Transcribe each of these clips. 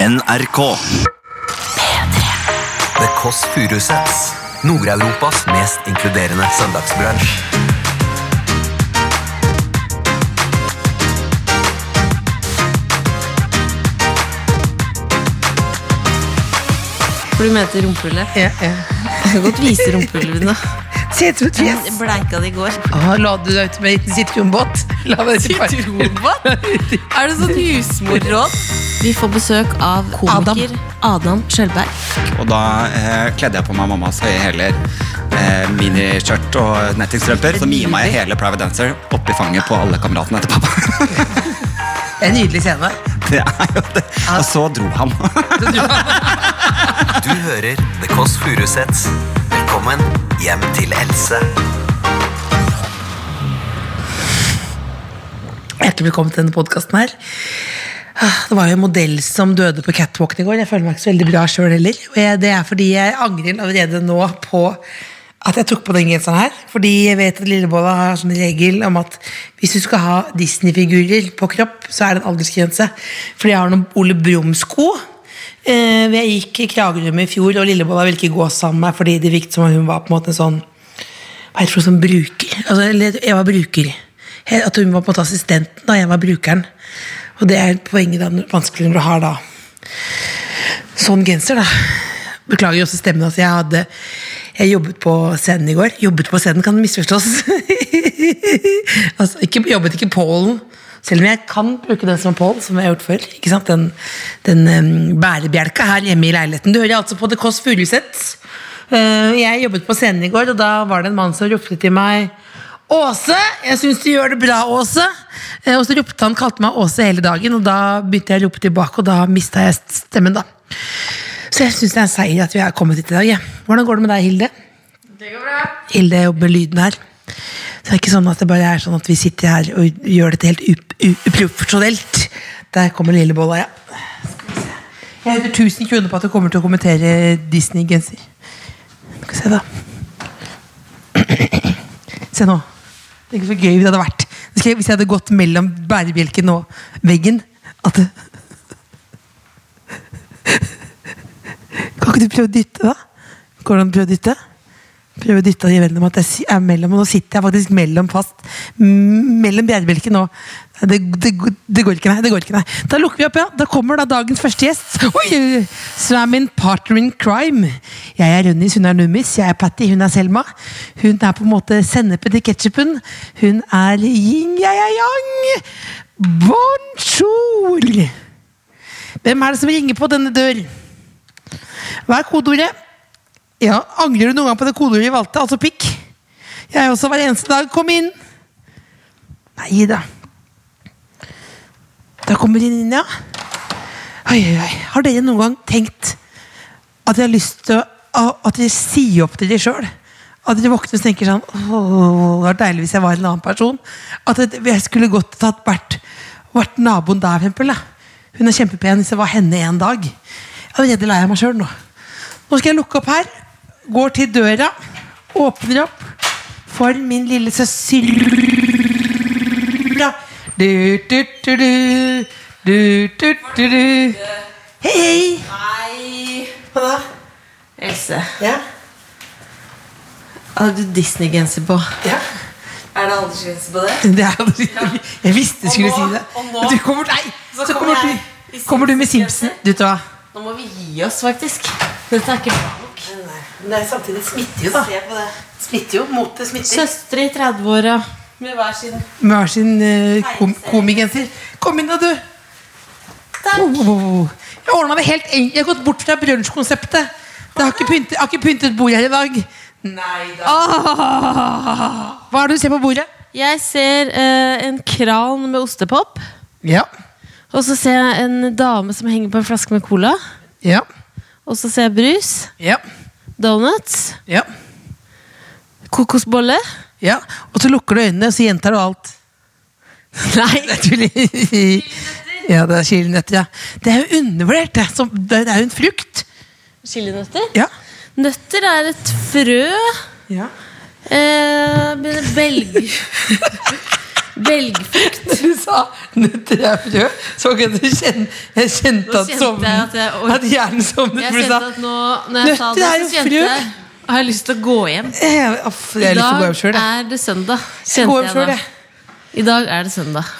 NRK. The Kåss Furuseths. Nord-Europas mest inkluderende søndagsbransj. For du mente rumpehullet? Ja, ja. Jeg kan godt vise rumpehullet nå. Jeg Sitrotfjes. bleika det i går. Ah, la du deg ut med en liten sitronbåt? La meg Hva? Er det sånn husmorråd? Vi får besøk av komiker Adam, Skjølberg. Og da eh, kledde jeg på meg mammas høye hæler, eh, miniskjørt og nettingstrømper. Så mima jeg hele Private Dancer oppi fanget på alle kameratene til pappa. Det er en nydelig scene. Det er jo det. Og så dro han. Du hører The Kåss Furuseths. Velkommen hjem til Else. Hjertelig velkommen til denne podkasten her. Ah, Det var jo en modell som døde på catwalken i går. Jeg føler meg ikke så veldig bra sjøl heller. Og jeg, det er fordi jeg angrer allerede nå på at jeg tok på den genseren her. Fordi jeg vet at Lillebolla har sånn regel om at hvis du skal ha Disney-figurer på kropp, så er det en aldersgrense. Fordi jeg har noen Ole Brumm-sko. Eh, jeg gikk i Kragerø i fjor, og Lillebolla ville ikke gå sammen med meg fordi det virket som om hun var på en måte en sånn hva heter det for noe som bruker? Altså, eller jeg var bruker. He- At hun var på en måte assistenten, da jeg var brukeren. Og det er poenget da, vanskeligere når du har da sånn genser, da. Beklager også stemmen. Altså, jeg hadde jeg jobbet på scenen i går. Jobbet på scenen kan misforstås. altså, ikke, jobbet ikke pålen. Selv om jeg kan bruke den som pål, som jeg har gjort før. Ikke sant? Den, den em, bærebjelka her hjemme i leiligheten. Du hører altså på The Kåss Furuseth. Eh, jeg jobbet på scenen i går, og da var det en mann som ropte til meg Åse, jeg syns du gjør det bra, Åse. Eh, Og så ropte han, kalte meg Åse hele dagen, og da begynte jeg å rope tilbake, og da mista jeg stemmen, da. Så jeg syns det er en seier at vi er kommet hit i dag. Ja. Hvordan går det med deg, Hilde? Hilde jobber med lyden her. Så det er ikke sånn at det bare er sånn at vi sitter her og gjør dette helt up- u- uprofesjonelt. Der kommer lillebolla, ja. Skal vi se. Jeg heter 1000 kroner på at du kommer til å kommentere Disney-genser. Skal vi se, da. Se nå. Tenk så gøy det hadde vært Hvis jeg, hvis jeg hadde gått mellom bærebjelken og veggen. At det... Kan ikke du prøve å dytte, da? Går det an å prøve å dytte? Prøve å dytte og gi vennene om at jeg si- er mellom. Og nå sitter jeg faktisk mellom fast. m- Mellom bærebjelken og Nei, det, det, det går ikke, nei. det går ikke nei. Da lukker vi opp, ja. Da kommer da dagens første gjest. Oi, oi, oi. Som er min partner in crime. Jeg er Rønnis, hun er Nummis. Jeg er Patty, hun er Selma. Hun er på en måte sennepen til ketsjupen. Hun er yin, jeg er yang. Bonjour! Hvem er det som ringer på denne dør? Hva er kodeordet? Ja, Angrer du noen gang på det kodeordet vi valgte? Altså pikk? Jeg også hver eneste dag. Kom inn! Nei da. Da kommer hun inn, ja. Oi, oi, oi. Har dere noen gang tenkt at dere har lyst til å At dere sier opp til dere sjøl? At dere våkner og tenker sånn Åh, det var deilig hvis jeg var en annen person. At det- jeg skulle godt tatt vært, vært naboen der, for eksempel. Da. Hun er kjempepen hvis jeg var henne en dag. Jeg er allerede lei av meg sjøl nå. Nå skal jeg lukke opp her. Går til døra. Åpner opp for min lille søster du, du, du, du. Du, du, du, du. Hei, hei. Nei Hva da? Else, Ja. har du Disney-genser på? ja. Er det aldersgrense på det? Det er, jeg visste du skulle Og si nå- det. og nå- Men Du kommer, nei, så så kommer kommer jeg du, i kommer du med Simpsons-genser. Simpson. Du vet hva? Nå må vi gi oss, faktisk. Dette er ikke bra nok. Nei, samtidig smitter Se på det. Smitter jo. Mote smitter. Søstre i 30-åra med hver sin Med hver sin uh, kom komigenser. Kom inn da, du. Takk. Oh, oh, oh. Jeg ordna det helt enkelt. Jeg har gått bort fra brunsjkonseptet. Jeg har ikke pyntet, jeg har ikke pyntet bordet her i dag. Nei da. Hva er det du ser på bordet? Jeg ser eh, en kran med ostepop. Ja. Og så ser jeg en dame som henger på en flaske med cola. Ja. Og så ser jeg brus, Ja. donuts, Ja. kokosbolle. ja. Og så lukker du øynene, og så gjentar du alt. Nei, jeg tuller. Ja, det er chilinøtter. Ja. Det er jo undervurdert. Det er, som, det er jo en frukt. Chilinøtter. Ja. Nøtter er et frø. ja. Eh, belg... Belgfrukt. Du sa nøtter er frø, så kan du kjenne Jeg kjente Nå at kjente jeg sovnen at jeg ork- At hjernen sovnet. Jeg for du kjente sa, at nå, når jeg sa Nøtter det, er jo så kjente frø. jeg Har jeg lyst til å gå hjem. «Eh, aff, Jeg har lyst til å gå hjem I sjøl, dag jeg. er det søndag. Gå Kjente hjem jeg selv, da. jeg. I dag er det søndag.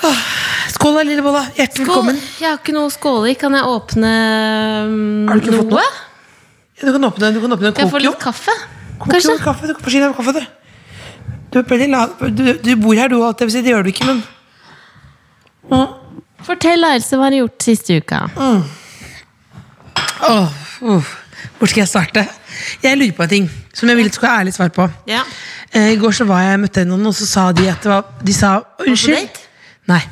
Skål da, lille bolla. Hjertelig Skål. velkommen. Jeg har ikke noe å skåle i. Kan jeg åpne mm, Har du ikke fått noe? Du kan åpne, du kan åpne en Kan jeg få kokjo. litt kaffe? Kokjo Kanskje? med kaffe. Du kan forsyne deg med kaffe, du. Du, er veldig la- du, du bor her, du òg. Det, vil si, det gjør du ikke, men Fortell, Else, hva har du gjort siste uka? Åh, uff. Hvor skal jeg starte? Jeg lurer på en ting som jeg vil skulle ha ærlig svar på. Ja. Eh, I går så var jeg møtte jeg noen, og så sa de at det var De sa unnskyld. date? Nei.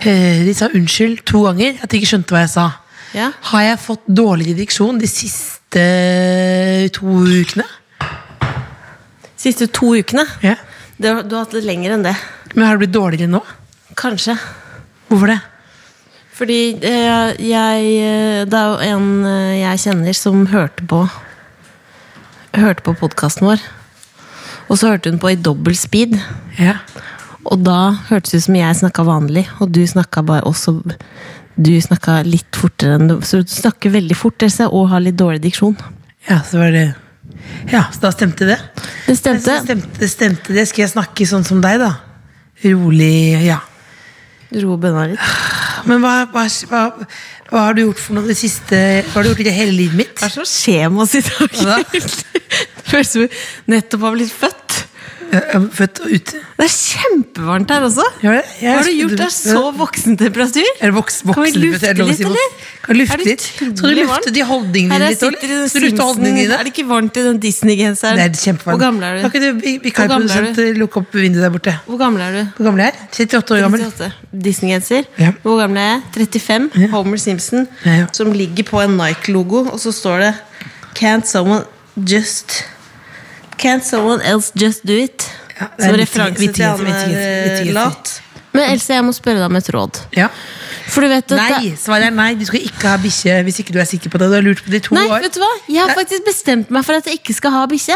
Eh, De sa unnskyld to ganger, at de ikke skjønte hva jeg sa. Ja. Har jeg fått dårlig diksjon de siste to ukene? Siste to ukene? Ja. Det, du har hatt litt lenger enn det. Men har det blitt dårligere nå? Kanskje. Hvorfor det? Fordi eh, jeg eh, Det er jo en eh, jeg kjenner som hørte på Hørte på podkasten vår. Og så hørte hun på i dobbel speed. Ja. Og da hørtes det ut som jeg snakka vanlig, og du snakka bare også Du snakka litt fortere enn du Så du snakker veldig fort Else, og har litt dårlig diksjon. ja, så var det Ja, så da stemte det. Det Men så stemte. stemte, det stemte det. Skal jeg snakke sånn som deg, da? Rolig, ja. Du Ro bønna litt. Men hva, hva, hva, hva har du gjort for noe det siste Hva har du gjort i det hele livet mitt? Hva er det som skjer med oss i dag? Hva da? Det føles som vi nettopp har blitt født. Jeg er Født og ute? Det er kjempevarmt her også. Ja, det- jeg Hva har du skulle- gjort? Det er så voksentemperatur. Er det voks, Kan vi voksen, lufte er det lov å litt, si voksen? eller? Kan du Er lufte det litt? Skal du utrolig lufte varmt? de holdningene Her dine er jeg litt? eller? sitter i den Skal du lufte holdningene Simpsons. dine? Er det ikke varmt i den Disney-genseren? Nei, det er kjempevarmt. Hvor gammel er Kan du? ikke du, vi- Hvor gammel er vikarprodusent, du? eh, lukke opp vinduet der borte? Hvor gammel er du? Hvor gammel er jeg? 38 år gammel. 38. Disney-genser. Ja. Hvor gammel er jeg? 35. Homer Simpson. Ja, ja. Som ligger på en Nike-logo, og så står det Can't someone just Can't someone else just do it? Ja, det er som vittig- referanse vittig- til han vittig- der vittig- eh, lat. Men Else, jeg må spørre deg om et råd. Ja. For du vet at det- Nei, svaret er nei. Du skal ikke ha bikkje hvis ikke du er sikker på det. Du har lurt på det i to Nei, år. vet du hva? Jeg har Nei. faktisk bestemt meg for at jeg ikke skal ha bikkje.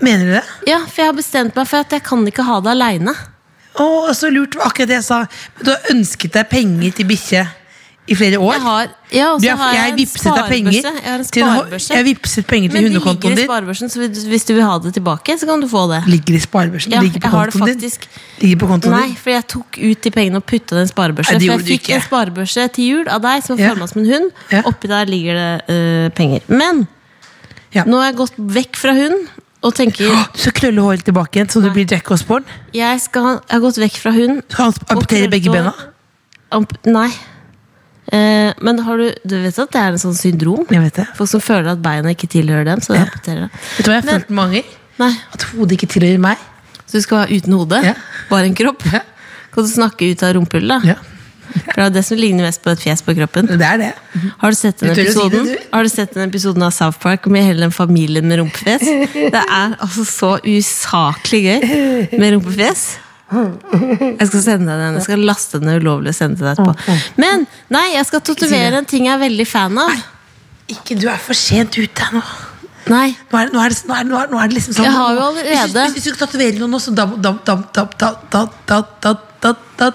Mener du det? Ja, for jeg har bestemt meg for at jeg kan ikke ha det aleine. Å, så lurt var akkurat det jeg sa. Men du har ønsket deg penger til bikkje i flere år. Jeg har, ja, og Du så har- har jeg, jeg en vippset deg penger sparebørse. Jeg har en til en ho- sparebørse. jeg vippset penger til Men det hundekontoen ligger i din. sparebørsen, så hvis- hvis du vil ha det tilbake, så kan du få det. Ligger i sparebørsen. Ja, ligger på jeg har det kontoen din. faktisk. Ligger på kontoen Nei, din. for jeg tok ut de pengene og putta det i en sparebørse. Nei, For det jeg gjorde du fikk ikke. en sparebørse til jul av deg som var Ja. forma som en hund. Ja. Oppi der ligger det eh, penger. Men Ja. nå har jeg gått vekk fra hund og tenker Åh, Du skal krølle håret tilbake igjen, så du blir Jack Osborne. Jeg, skal, jeg har gått vekk fra hund. Du kan amputere krøllete begge hår. bena. Amp nei. Eh, men har du, du vet at det er en sånn syndrom? Jeg vet det. Folk som føler at beina ikke tilhører dem. Så de Ja. amputerer det. Vet du hva jeg har Men- følt mange ganger? Nei, At hodet ikke tilhører meg. Så du skal være uten hode? Ja. Bare en kropp? Ja. Kan du snakke ut av rumpehullet? da? Ja, For det er jo det som ligner mest på et fjes på kroppen. Det er det. Har du sett den Du tør å si det, episoden du? Har du sett den episoden av South Park med hele den familien med rumpefjes? Det er altså så usaklig gøy med rumpefjes. Jeg skal sende deg den, jeg skal laste den ulovlig og sende til deg etterpå. Men nei, jeg skal tatovere en ting jeg er veldig fan av. Ikke du er for sent ute nå. Nei, Nå er, nå er, det, nå er, nå er, nå er det liksom sånn Jeg har jo Hvis du, allerede- hvis du skal tatovere noen nå, så da, da, da, da, da, da, da, da, da, da,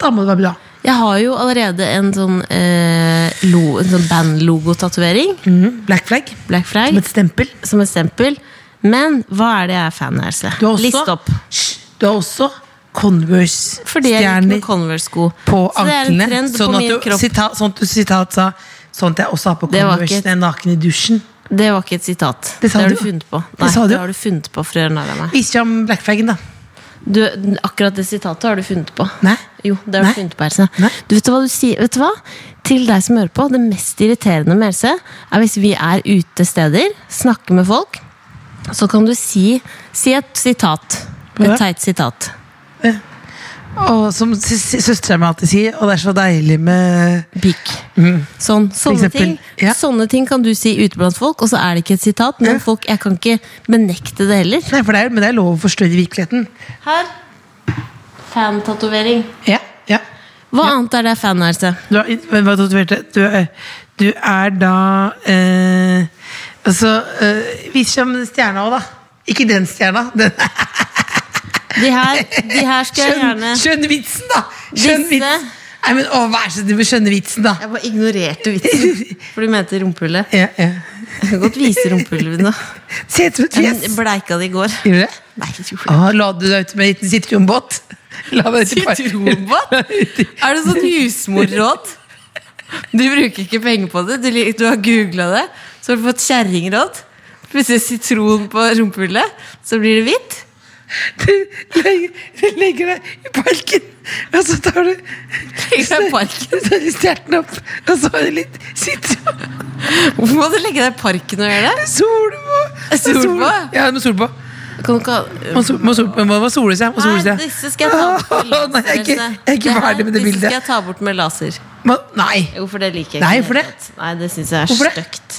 da må det være bra. jeg har jo allerede en sånn, eh, lo- en sånn bandlogotatovering. Mhm. Black flag. Black Flag. Som et stempel. som et stempel. Men hva er det jeg er fan av, Else? Du har også, List opp. Hysj, du har også Converse Fordi jeg liker stjerner med Converse-sko. på Så det er en anklene. trend Sånn på at min du, kropp. sitat, sånn at du sitat sa Sånn at jeg også har på Det var ikke Converse når et- jeg er naken i dusjen. Det var ikke et sitat. Det sa har du du jo. funnet på. Det sa du jo. har du funnet på for å gjøre narr av meg. Vis fram black flaggen, da. Du, akkurat det sitatet har du funnet på. Nei. Jo, det har Nei. du funnet på, Else. Nei. Du vet, hva du sier, vet du hva? Til deg som hører på, det mest irriterende med Else er hvis vi er ute steder, snakker med folk, så kan du si, si et sitat. Ja. Et teit sitat. Og som s- s- søstera mi alltid sier, og det er så deilig med pikk. Sånn, sånne, Mm. eksempel. ting, Ja. sånne ting kan du si ute blant folk, og så er det ikke et sitat. Men Ja. folk, jeg kan ikke benekte det heller. Nei, for det er, men det er lov å forstørre virkeligheten. Her. Fantatovering. Ja, ja. Hva annet er det jeg er fan av? Else? Du, har, men hva tatoverte? Du, er- du er da eh, Altså, eh, vis fram stjerna òg, da. Ikke den stjerna. Den De her, de her skal jeg Skjønn, gjerne skjønn vitsen, da! Skjønn Disse- vitsen. Nei, men å, Vær så snill med skjønne vitsen, da. Jeg bare ignorerte vitsen, for du mente rumpehullet. Ja, ja. Jeg kan godt vise rumpehullet nå. Se ut som et fjes. Jeg bleika det i går. Gjorde du det? Nei, jeg gjorde det. Å, la du deg ut med en liten sitronbåt? La meg ut i par- Sitronbåt? Er det sånn husmorråd? Du bruker ikke penger på det, du, li- du har googla det, så har du fått kjerringråd. Plutselig sitron på rumpehullet, så blir det hvitt. Du legger, du legger deg i parken, og så tar du Legger deg i parken? Så tar du stjerten opp, og så har du litt sitron Hvorfor må du legge deg i parken og gjøre det? Sol på! Sol på? Ja, du må sol på. Kan du ikke ha Må, sol, må, sol, må, må sole seg. Må sole Nei, seg. disse skal jeg ta bort med Å, nei, laser. jeg er ikke- Else. jeg er ikke her- ferdig med det bildet. Disse skal jeg ta bort med laser. Må, nei! Jo, for det liker jeg Nei, i det for det? hele tatt. Nei, det syns jeg er Hvorfor det? stygt.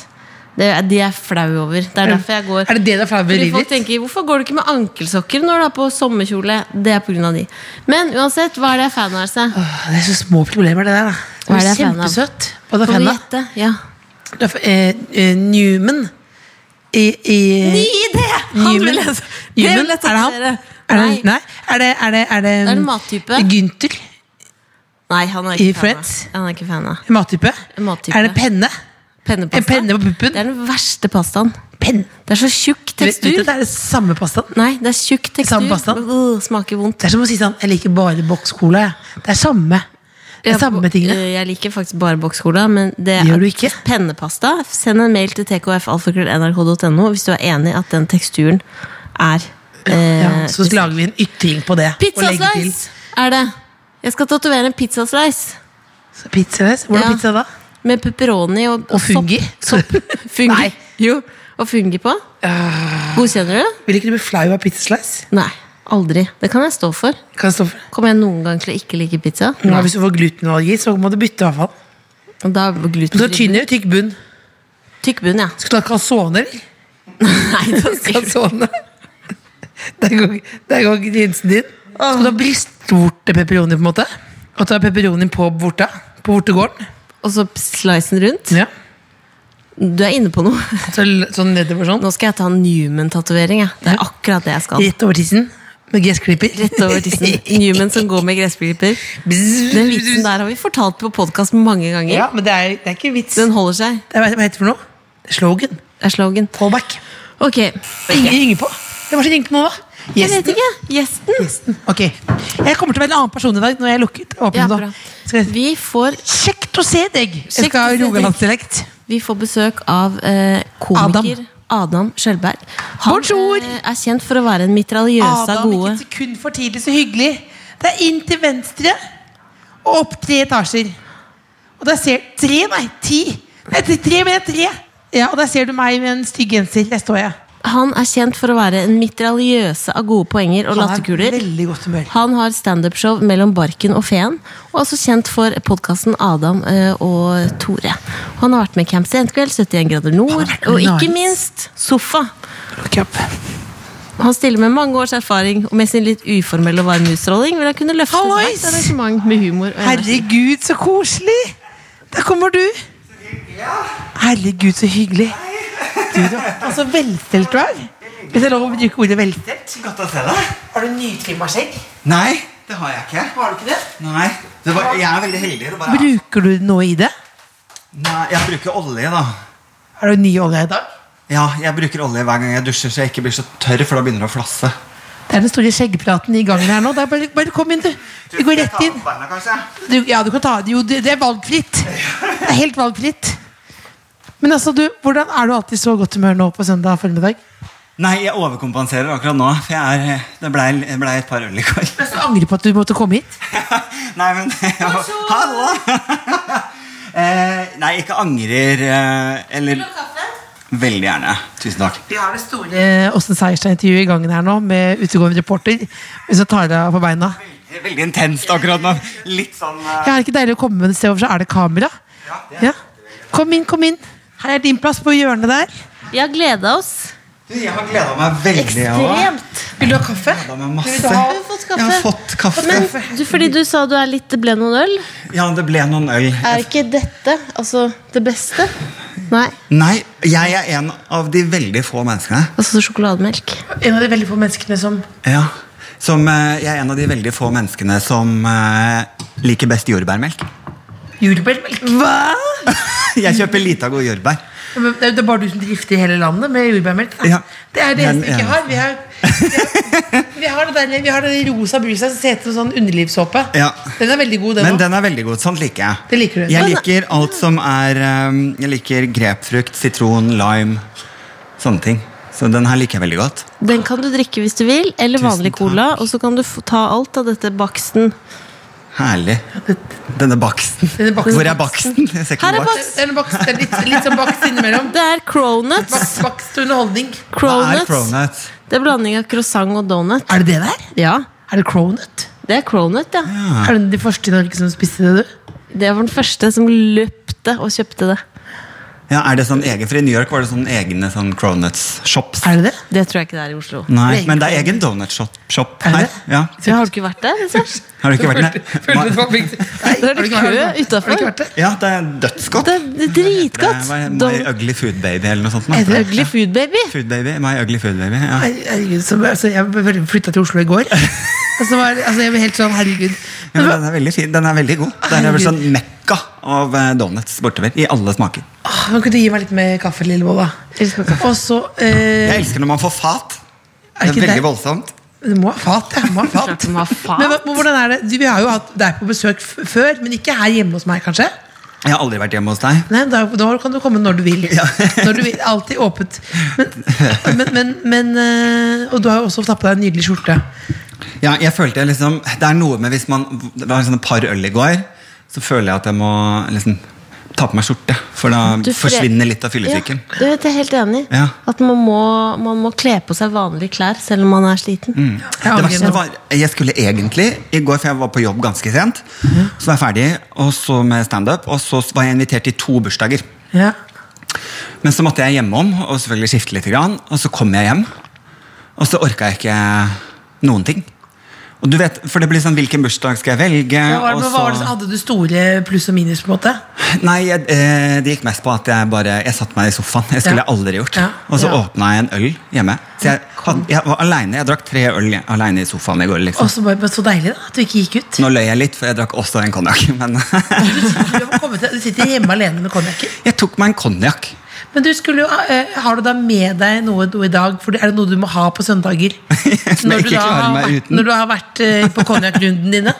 Det er- De er flau over. Det er derfor jeg går Er det det du er flau over i Fordi livet folk ditt? tenker, Hvorfor går du ikke med ankelsokker når du er på sommerkjole? Det er på grunn av de. Men uansett, hva er det jeg er fan av? Else? Åh, Det er så små problemer, det der. da. Hva er Du det jeg er fan av? Kjempesøt. Hva er du Kan du fan av? gjette? Ja. Du er fa- eh, eh, Newman i, i Ny idé! Han Newman. vil jeg det Newman, vil jeg er det han? tatovere. Er det, Nei. nei. Er det, er det, er det, Det er en mattype. Gunther? Nei, han er I ikke fan av. Friends? Han er ikke fan av. En mattype? En mattype. Er det penne? Pennepasta. En penne på puppen? Det er den verste pastaen. Penn. Det er så tjukk Vet vet du tekstur. at det er det samme pastaen? Nei, det er tjukk tekstur. Samme pasta? Øh, smaker vondt. Det er som å si sånn, jeg liker bare bokscola. jeg. Det er samme. Det er samme tingene. Jeg liker faktisk bare bokscola, men det Gjør du ikke? pennepasta. Send en mail til tkfalfakrøll.nrk.no hvis du er enig at den teksturen er eh, Ja, så lager vi en ytring på det. og legger til. Pizzaslice er det! Jeg skal tatovere en pizzaslice Så Pizza, yes. Hvordan Ja. pizza da? med pepperoni og, Og fungi? Sopp. sopp. Fungi. Nei. Jo, og fungi på. Godkjenner du? Vil ikke du bli flau av pizzaslice? Nei. Aldri. Det kan jeg stå for. Kan jeg stå for? Kommer jeg noen gang til å ikke like pizza? Nå, hvis du får glutenallergi, så må du bytte i hvert fall. Og Da er Så glutenfri tynn eller tykk bunn? tykk bunn, ja. Skal du ha calzone, eller? Nei, da sier du Calzone. Der går, der går grensen din. Skal du ha brystvorte pepperoni, på en måte? Og ta pepperoni på vorta? På vortegården? Og så slicen rundt. Ja. Du er inne på noe. Så, sånn nedover sånn. Nå skal jeg ta en Newman-tatovering. jeg. Det er akkurat det jeg skal. Rett over tissen. Med gressklipper. Rett over tissen. Newman som går med gressklipper. Den vitsen der har vi fortalt på podkast mange ganger. Ja, men det er, det er ikke vits. Den holder seg. Det er, hva heter det for noe? Det er slogan. Det er slogan. Callback. Ok. Ingen ringer på. Hvem er det som ringer på nå, da? Jeg vet ikke. Gjesten. Gjesten. Ok. Jeg kommer til å være en annen person i dag når jeg lukker Ja, åpner nå. bra. Skal jeg... Vi får, Kjekt å se deg! Jeg Kjekt å skal ha se deg. rogalandsdialekt. vi får besøk av eh, komiker Adam. Adam Skjølberg. Han Bonjour. eh, er kjent for å være en mitraljøsa Adam, ikke gode et sekund for tidlig. Så hyggelig. Det er inn til venstre og opp tre etasjer. Og der ser Tre, nei, ti. Nei, tre, tre, men tre. Ja, og der ser du meg med en stygg genser. Der står jeg. Han er kjent for å være en mitraljøse av gode poenger og Han er latterkuler. veldig godt humør. Han har standup-show mellom Barken og Feen, og er også kjent for podkasten Adam eh, og Tore. Han har vært med i Camp Senkveld, 71 grader Han nord, har vært og med ikke Nice. minst Sofa. Look up. Han stiller med mange års erfaring, og med sin litt uformelle og varme utstråling vil han kunne løfte Hallois! hvert arrangement med humor. og energi. Herregud, så koselig! Der kommer du. Herregud, så hyggelig. Du, da. Og så velstelt du er. Hvis jeg lov å bruke ordet velstelt? Godt å se deg. Har du nytrimma skjegg? Nei, det har jeg ikke. Har du ikke det? Nei, det var, Jeg er veldig heldig. Det bare, er- Bruker du noe i det? nei, jeg bruker olje, da. Har du ny olje i dag? Ja, jeg bruker olje hver gang jeg dusjer, så jeg ikke blir så tørr, for da begynner det å flasse. Det er den store skjeggpraten i gangen her nå. Det er bare, bare kom inn, du. Vi går rett inn. Beina, kanskje? Du, ja, du kan ta det. Jo, det det er valgfritt. Det er helt valgfritt. Men altså, du, hvordan er du alltid i så godt humør nå på søndag formiddag? Nei, jeg overkompenserer akkurat nå, for jeg er, eh, det blei ble et par øl i går. Du angrer på at du måtte komme hit. Nei, men Hallo! eh, nei, ikke angrer eh, Eller Veldig gjerne. Tusen takk. Vi har det store Åsen Eh, Seierstad-intervjuet i gangen her nå, med utegående reporter. Hvis jeg tar deg av på beina. Veldig intenst akkurat nå. Litt sånn eh, Ja, er det ikke deilig å komme et sted over, så er det kamera? det er Ja. Kom inn, kom inn. Her er din plass på hjørnet der. Vi har gleda oss Du, Jeg har gleda meg veldig. jeg også. ekstremt. Vil du ha kaffe? Jeg har gledet meg masse. ha- Har du fått kaffe? Jeg har fått kaffe. Men du, fordi du sa du er litt det ble noen øl, Ja, det ble noen øl. er ikke dette altså det beste? Nei. Nei, jeg er en av de veldig få menneskene. Altså sjokolademelk. En av de veldig få menneskene som Ja. Som, eh, jeg er en av de veldig få menneskene som eh, liker best jordbærmelk. Jordbærmelk? Hva? Jeg kjøper Litago jordbær. Men Det det er bare du som drifter i hele landet med jordbærmelk? da. Ja. Det er det Jeg er eneste vi den ikke har. Vi har, vi har, det der, vi har den rosa brusa som ser ut som sånn underlivssåpe. Ja. Den er veldig god, den Men òg. den er veldig god. Sånn liker jeg. Det liker du. Jeg liker alt som er eh, Jeg liker grepfrukt, sitron, lime. Sånne ting. Så den her liker jeg veldig godt. Den kan du drikke hvis du vil, eller Tusen vanlig takk. cola. Og så kan du få ta alt av dette baksten. Herlig. Denne baksten. Denne baksten. Hvor er baksten? Jeg ser ikke Her er noen bakst. bakst. Det er en bakst, det er litt, litt sånn bakst innimellom. Det er cronuts. Bakst, bakst og underholdning. Hva er cronuts. cronuts? Det er blanding av croissant og donut. Er det det der? Ja, Er det crownut? det er cronut, ja. Er du den de første i Norge som spiste det, du? Det var den første som løpte og kjøpte det. Ja, er det sånn egen, for I New York var det sånn egne sånn cronuts-shops. Er det det? Det tror jeg ikke det er i Oslo. Nei, men det er egen donut-shop shop Er her. det? Ja. Ja, har du ikke vært der? Lise? Har du ikke vært Følte- følte det der? var viktig. Nei, Da er det har du ikke vært kø der? utenfor. Har du ikke vært der? Ja, det er dødsgodt. Det er dritgodt. Det er My Don- Ugly Food Baby eller noe sånt. nå. Er det Ugly food baby. Food baby, My Ugly Food Baby. Ja. Nei, Herregud, så, altså, jeg flytta til Oslo i går. Og så var, altså, jeg var helt sånn, herregud. Ja, men den er veldig fin. Den er veldig god. Den er vel sånn mekka av eh, donuts bortover. I alle smaker. Åh, men kunne du gi meg litt mer kaffe, Lillebolla? Elsker kaffe. Og så eh, Jeg elsker når man får fat. Er Det ikke er det- veldig voldsomt. Du må ha fat, ja. du Må ha Klart fat. du må ha fat. Men, hva- hvordan er det? Du, vi har jo hatt deg på besøk f før, men ikke her hjemme hos meg, kanskje? Jeg har aldri vært hjemme hos deg. Nei, da, da kan du komme når du vil. Når du vil alltid åpent. Men, men, men, men eh, Og du har jo også tatt på deg en nydelig skjorte. Ja, jeg følte jeg liksom Det er noe med hvis man Det var sånn et par øl i går, så føler jeg at jeg må liksom ta på meg skjorte. For da Du fre- forsvinner litt av fyllesyken. Ja, det er jeg helt enig i. Ja. At man må, man må kle på seg vanlige klær selv om man er sliten. Jeg Det angrer verste nå. var, jeg skulle egentlig I går, for jeg var på jobb ganske sent, så var jeg ferdig og så med standup. Og så var jeg invitert til to bursdager. Ja. Men så måtte jeg hjemom og selvfølgelig skifte litt. Grann, og så kom jeg hjem, og så orka jeg ikke noen ting. Og du vet, For det blir sånn Hvilken bursdag skal jeg velge? Hva var det, og hva var det, så- som- hadde du store pluss og minus, på en måte? Nei, jeg, eh, Det gikk mest på at jeg bare Jeg satte meg i sofaen. Jeg skulle Ja. aldri gjort. Ja. Og så Ja. åpna jeg en øl hjemme. Så jeg, had- jeg var aleine. Jeg drakk tre øl aleine i sofaen i går. Og liksom så bare, men Så deilig da, at du ikke gikk ut. Nå løy jeg litt, for jeg drakk også en konjakk. Men Du, har kommet til, du sitter hjemme alene med konjakken. jeg tok meg en konjakk. Men du skulle jo, eh, har du da med deg noe nå i dag? For er det noe du må ha på søndager? Som jeg du ikke da klarer har meg vært, uten. når du har vært eh, på konjakkrunden dine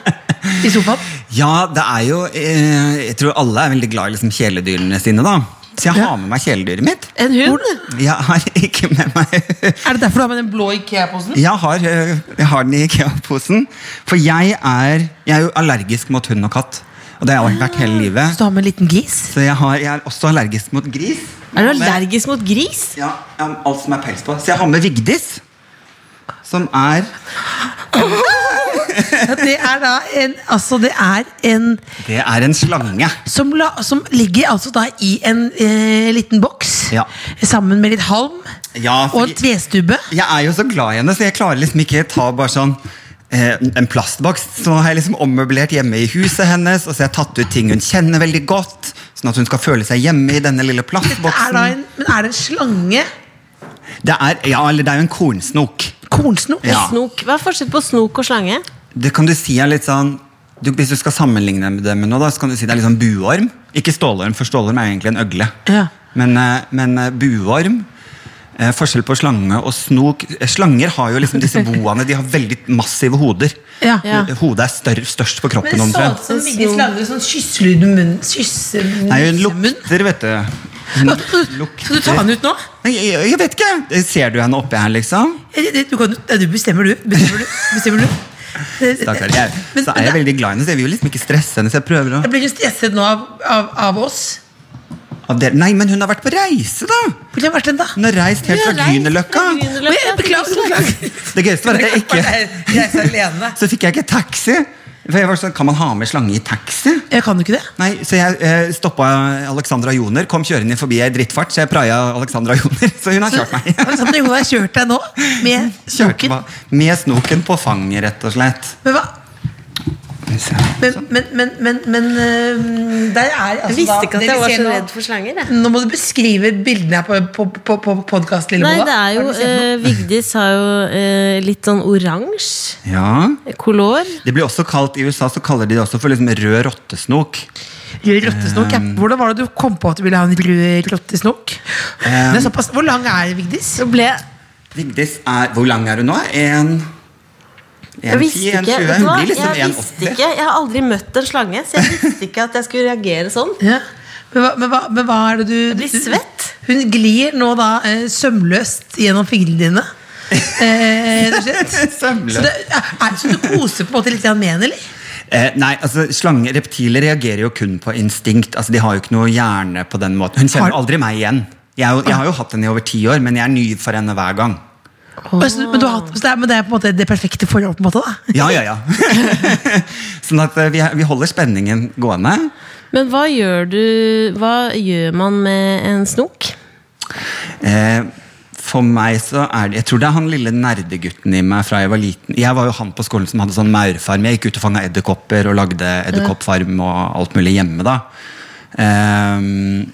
i sofaen? Ja, det er jo eh, Jeg tror alle er veldig glad i liksom, kjæledyrene sine, da. Så jeg har med meg kjæledyret mitt. En hund? Jeg har ikke med meg Er det derfor du har med den blå Ikea-posen? Jeg har, eh, jeg har den i IKEA-posen. For jeg er, jeg er jo allergisk mot hund og katt. Og det har jeg vært hele Så livet. du har med en liten gis? Så jeg, har, jeg er også allergisk mot gris. Er du allergisk mot gris? Ja, ja, alt som er pels på. Så jeg har med Vigdis. Som er Ja, det er da en, altså det er en Det er en slange. som, la, som ligger altså da i en eh, liten boks Ja. sammen med litt halm Ja, og en fordi- tvestubbe. Jeg er jo så glad i henne, så jeg klarer liksom ikke ta bare sånn eh, en plastboks. Så har jeg liksom ommøblert hjemme i huset hennes, og så har jeg tatt ut ting hun kjenner veldig godt. Sånn at hun skal føle seg hjemme i denne lille Det er da plastboksen. en, men er det en slange? Det er, ja, eller det er jo en kornsnok. Kornsnok? Ja. Snok. Hva er forskjellen på snok og slange? Det kan du si er litt sånn du, Hvis du skal sammenligne det med noe, da, så kan du si det er litt sånn buorm. Ikke stålorm, for stålorm er jo egentlig en øgle. Ja. Men, eh, men eh, buorm eh, Forskjell på slange og snok eh, Slanger har jo liksom disse boene. De har veldig massive hoder. Ja. Ja. Hodet er større, størst på kroppen. Men det så omtrent. ut som Vigdis lagde sånn kysselyd med munnen. Kysse Nei, hun munn. lukter, vet du. Hun lukter. Skal du ta den ut nå? Nei, jeg, jeg vet ikke! Ser du henne oppi her, liksom? Eh, Du, kan, ja, du bestemmer, du. Bestemmer du. Bestemmer du. Stakkar. Jeg, Men- så er jeg men veldig glad i henne, så jeg vil jo liksom ikke stresse henne. Så jeg prøver å Jeg blir jo stresset nå av, av, av oss. av dere. Nei, men hun har vært på reise, da! Hvor har vært den, da? Hun har reist helt fra Grünerløkka. Oi, jeg Beklager. beklager. Det gøyeste var at jeg ikke Reise alene. Så fikk jeg ikke taxi. For jeg var sånn, Kan man ha med slange i taxi? Jeg kan jo ikke det. Nei, Så jeg eh, stoppa Alexandra Joner, kom kjørende forbi i drittfart, så jeg praia Alexandra Joner. Så hun har kjørt meg. Alexander Johan har kjørt deg nå med Kjørte stokken. meg med snoken på fanget, rett og slett. Men hva? se. Men, men, men, men, men øhm, der er altså Jeg visste da- ikke at det jeg vi var ser så nå- redd for slanger. Jeg. Nå må du beskrive bildene her på, på, på, på podkast, Lille Nei, Moa. det er jo Har du sett noe? eh, Vigdis har jo eh, litt sånn oransje Ja. kolor. Det blir også kalt, I USA så kaller de det også for liksom rød rottesnok. Rød rottesnok, ja. Um, Hvordan var det du kom på at du ville ha en rød rottesnok? um, Den er såpass, hvor lang er Vigdis? Så ble Vigdis er Hvor lang er hun nå? En Jeg visste 1,10, ikke. 1,20? Vet du Hun hva? sånn blir liksom Jeg visste 1,80. ikke. Jeg har aldri møtt en slange, så jeg visste ikke at jeg skulle reagere sånn. Ja. Men, hva, men, hva, men hva er det du Jeg blir svett. Hun glir nå da eh, sømløst gjennom fingrene dine. Eh, rett og slett. Sømløst. Så, det, er, er- så du koser på en måte litt grann med henne, eller? Eh, nei, altså slanger, Reptiler reagerer jo kun på instinkt. Altså De har jo ikke noe hjerne på den måten. Hun kjenner Har- aldri meg igjen. Jeg, er jo- jeg har jo hatt henne i over ti år, men jeg er ny for henne hver gang. Altså, men, du har, hatt- så det er, men det er på en måte det perfekte forhold, på en måte? da Ja, ja, ja. sånn at eh, vi, vi holder spenningen gående. Men hva gjør du Hva gjør man med en snok? Eh, for meg så er det Jeg tror det er han lille nerdegutten i meg fra jeg var liten. Jeg var jo han på skolen som hadde sånn maurfarm. Jeg gikk ut og fanga edderkopper og lagde edderkoppfarm og alt mulig hjemme, da. Ehm,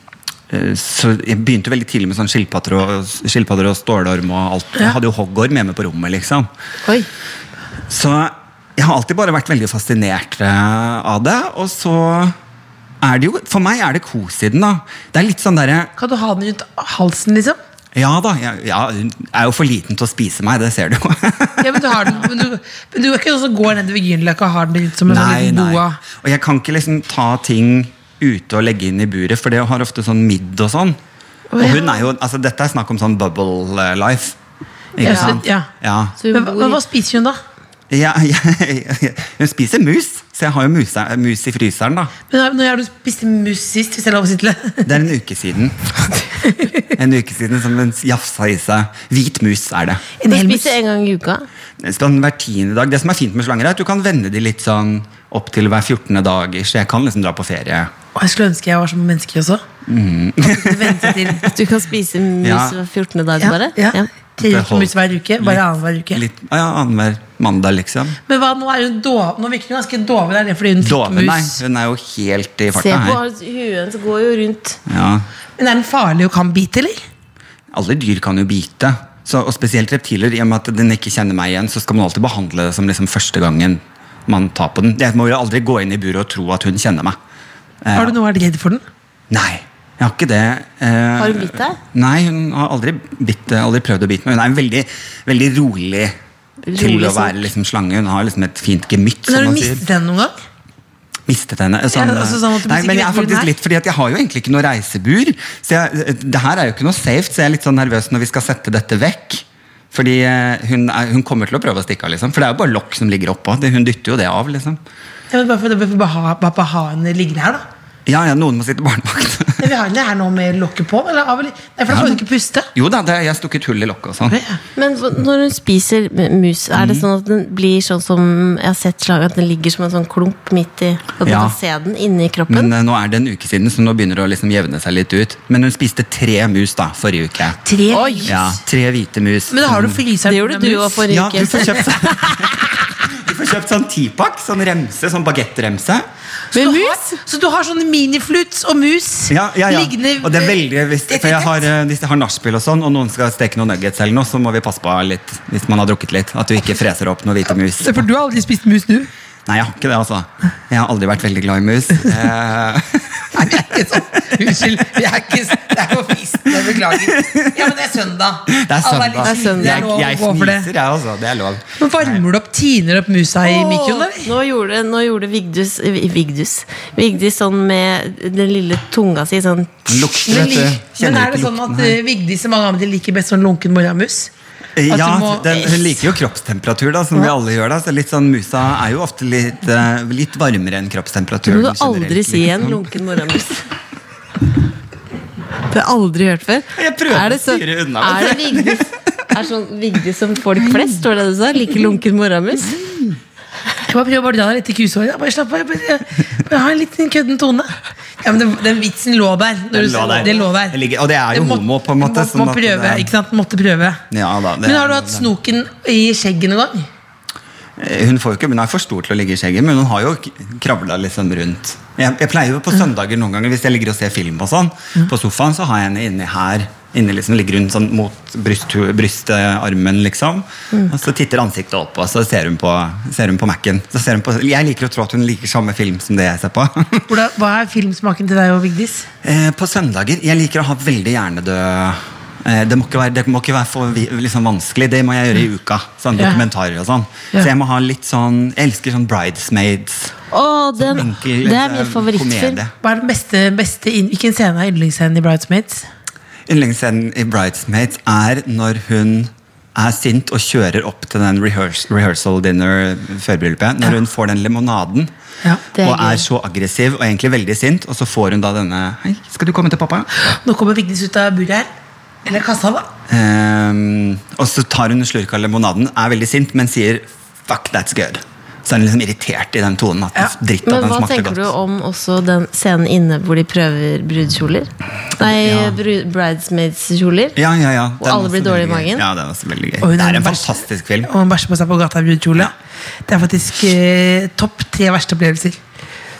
eh, så jeg begynte veldig tidlig med sånn skilpadder og, skilpadder og stålorm og alt. Jeg hadde jo hoggorm hjemme på rommet, liksom. Oi. Så jeg har alltid bare vært veldig fascinert eh, av det. Og så er det jo For meg er det kos i den, da. Det er litt sånn derre Kan du ha den rundt halsen, liksom? ja da, jeg, ja, hun er jo for liten til å spise meg, det ser du jo. Ja, men du har den Men du, men du er ikke sånn som går nedover Grünerløkka og har den rundt som en sånn nei, liten nei. boa? Og jeg kan ikke liksom ta ting ute og legge inn i buret, for det har ofte sånn midd og sånn. Og hun er jo, altså dette er snakk om sånn bubble eh, life. Ikke Ja, sant? ja. Ja. Så Men, hun hva- men bor hva spiser hun, da? Ja, ja, hun spiser mus, så jeg har jo mus, mus i fryseren da. Men Når har du spist mus sist, hvis jeg har lov å si til det? Det er en uke siden. En uke siden som hun jafsa i seg. Hvit mus er det. i En hel mus? spiser en gang i uka. Sånn hver tiende dag. Det som er fint med slanger, er at du kan vende de litt sånn opp til hver 14. dag. Så jeg kan liksom dra på ferie. Å, jeg skulle ønske jeg var som mennesker også. At du venter til Du kan spise mus Ja. hver 14. dag, ja, bare? ja. Ja. Til Det hold- mus hver uke. Bare annenhver uke. Litt, ah, ja, Annenhver mandag, liksom. Men hva, nå er hun dov, nå virker hun ganske doven. Er det fordi hun fikk Dove, nei. mus? Hun er jo helt i Se farta på her. huen, så går jo rundt. Ja. Men er den farlig og kan bite, eller? Alle dyr kan jo bite. Så, og spesielt reptiler. I og med at den ikke kjenner meg igjen, så skal man alltid behandle det som liksom første gangen man tar på den. Jeg må jo aldri gå inn i buret og tro at hun kjenner meg. Eh, Har du noe vært redd for den? Nei, jeg har ikke det. Eh, Har hun bitt deg? Nei, hun har aldri, bitt, eh, aldri prøvd å bite meg. Hun er en veldig, veldig rolig til sånn. Rolig å være liksom slange. Hun har liksom et fint gemytt. Men som har du man sier. mistet henne noen gang? mistet henne. Sånn, Ja, altså sånn at du nei, mistet men jeg er buren her? faktisk litt, fordi at jeg har jo egentlig ikke noe reisebur. Så jeg, eh, det her er jo ikke noe safe, så jeg er litt sånn nervøs når vi skal sette dette vekk. Fordi eh, hun, er, hun kommer til å prøve å stikke av, liksom. For det er jo bare lokk som ligger oppå. Det- Hun dytter jo det av, liksom. Ja, men bare for, bare for å ha, bare for å ha henne liggende her, da. Ja, ja, noen må sitte barnevakt. Men vi har henne her nå med lokket på? Eller, av, eller? Nei, for da får hun ikke puste. jo da, det, jeg har stukket hull i lokket og sånn. Men hva- når hun spiser mus, er det Mm. sånn at den blir sånn som jeg har sett slag, at den ligger som en sånn klump midt i At man Ja. kan se den inni kroppen? Men eh, nå er det en uke siden, så nå begynner det å liksom jevne seg litt ut. Men hun spiste tre mus da, forrige uke. Tre. Oi! Ja, Mm. tre hvite mus. Men da har du det fryseren gjorde du òg forrige Ja, uke. du får kjøpt sånn Du får kjøpt sånn tipakk, sånn remse, sånn bagettremse. Med Du mus? har, så du har sånne minifluts og mus Ja, ja, ja. liggende Og det er veldig hvis, eh, For jeg har, eh, hvis jeg har nachspiel og sånn, og noen skal steke noen nuggets, eller noe, så må vi passe på litt hvis man har drukket litt. At du ikke freser opp noen hvite mus. Se, For du har aldri spist mus, du? Nei, jeg har ikke det, altså. Jeg har aldri vært veldig glad i mus. Eh, Nei, vi er ikke sånn. Unnskyld. Vi er ikke, det er jo fristende. Beklager. Ja, men det er søndag. Det er Alle søndag. litt slitne, det er Jeg, lov å jeg gå for fniser, det. jeg, altså. Det er lov. Men varmer du opp, tiner opp musa i mikroen, Åh, eller? Nå gjorde, nå gjorde Vigdus, eh, Vigdus Vigdis sånn med den lille tunga si sånn Den lukter, Men, vet du. lik- men Kjenner er du det ikke sånn at lukten eh, her? Vigdis og mange andre liker best sånn lunken moramus? Eh, at Ja, du må- den, hun liker jo kroppstemperatur, da, som vi alle gjør. da Så litt sånn Musa er jo ofte litt, eh, litt varmere enn Det kroppstemperaturen. må du aldri generelt, si igjen, liksom. lunken morgenmus. Det har jeg aldri hørt før. Jeg prøver er det å styre unna, men Er det Vigdis, er sånn Vigdis som folk flest, var det det du sa? Liker lunken morgenmus? Jeg bare prøver å ordne deg litt i kusehåret. Bare slapp av. jeg Bare, bare ha en liten kødden tone. Ja, men den, den vitsen lå der. når Den du lå sa- der. Det lå der. Det ligger- og det er jo må- homo, på en måte, Må, sånn må at prøve, det er- ikke sant? Måtte prøve. Ja da, det men er har du lov, hatt det. snoken i skjegget noen gang? eh, Hun får jo ikke, hun er for stor til å ligge i skjegget, men hun har jo k- kravla liksom rundt. Jeg, jeg pleier jo på søndager noen ganger, hvis jeg ligger og ser film og sånn, på sofaen, så har jeg henne inni her. Inni liksom ligger hun sånn mot bryst, brystarmen, liksom. Og så titter ansiktet opp, og så ser hun på, ser hun på Mac-en. Så ser hun på, jeg liker å tro at hun liker samme film som det jeg ser på. Hvordan, hva er filmsmaken til deg og Vigdis? Eh, På søndager Jeg liker å ha veldig hjernedød eh, det må, ikke være, det må ikke være for vi- liksom vanskelig. Det må jeg Mm. gjøre i uka. Sånn Ja. Dokumentarer og sånn. Ja. Så jeg må ha litt sånn Jeg elsker sånn Bridesmaids. Å, den, Enkel, det eh, er min favorittfilm. komedie. Hva er den beste, beste inn- Hvilken scene er yndlingsscenen i Bridesmaids? Yndlingsscenen i Bridesmaids er når hun er sint og kjører opp til den rehears rehearsal dinner før bryllupet. Når hun får den limonaden. Ja, det er og gøy. er så aggressiv og egentlig veldig sint, og så får hun da denne Hei, skal du komme til pappa? Nå kommer Vigdis ut av buret her. Eller kassa, da. Ehm, og så tar hun en slurk av lemonaden, er veldig sint, men sier 'fuck, that's good'. Så er hun liksom irritert i den tonen. At Ja. den dritt at Men den hva smakte tenker godt. du om også den scenen inne hvor de prøver brudekjoler? Nei, Ja. bru- bridesmaids-kjoler. Ja, ja, ja. Og Den alle var blir også veldig dårlige i gøy. magen? Ja, den var også veldig gøy. Og hun Det er er en den verste- fantastisk film. Og hun bæsjer på seg på gata i brudekjole. Det er faktisk eh, topp tre verste opplevelser.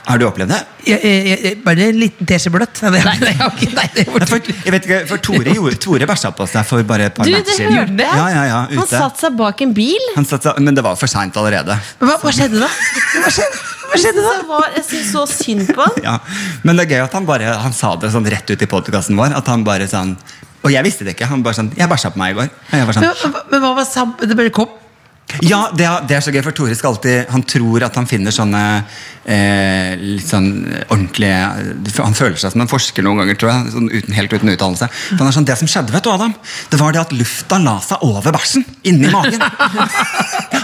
Har du opplevd det? Jeg, jeg, jeg, bare en liten teskje bløtt. Nei, det, nei. Nei, ok, nei, det var Nei, for, jeg vet ikke, for Tore, gjorde- Tore bæsja på seg for bare et par Du, natter det siden. hørte jeg! Ja, ja, ja, Han ute. satte seg bak en bil. Han satt seg- men det var for seint allerede. Men hva, hva skjedde da? Hva skjedde, hva skjedde da? Det var, jeg synes så synd på han. Ja. Men det er gøy at han bare Han sa det sånn rett ut i podkasten vår. At han bare sånn Og jeg visste det ikke. Han bare sånn 'Jeg bæsja på meg i går'. Og jeg var sånn, Men, men, men hva var sam... Det bare kom? Ja, det er, det er så gøy, for Tore skal alltid Han tror at han finner sånne eh, Litt sånn ordentlige Han føler seg som en forsker noen ganger, tror jeg. Sånn uten, helt uten utdannelse. For han er sånn, Det som skjedde, vet du, Adam, det var det at lufta la seg over bæsjen. Inni magen.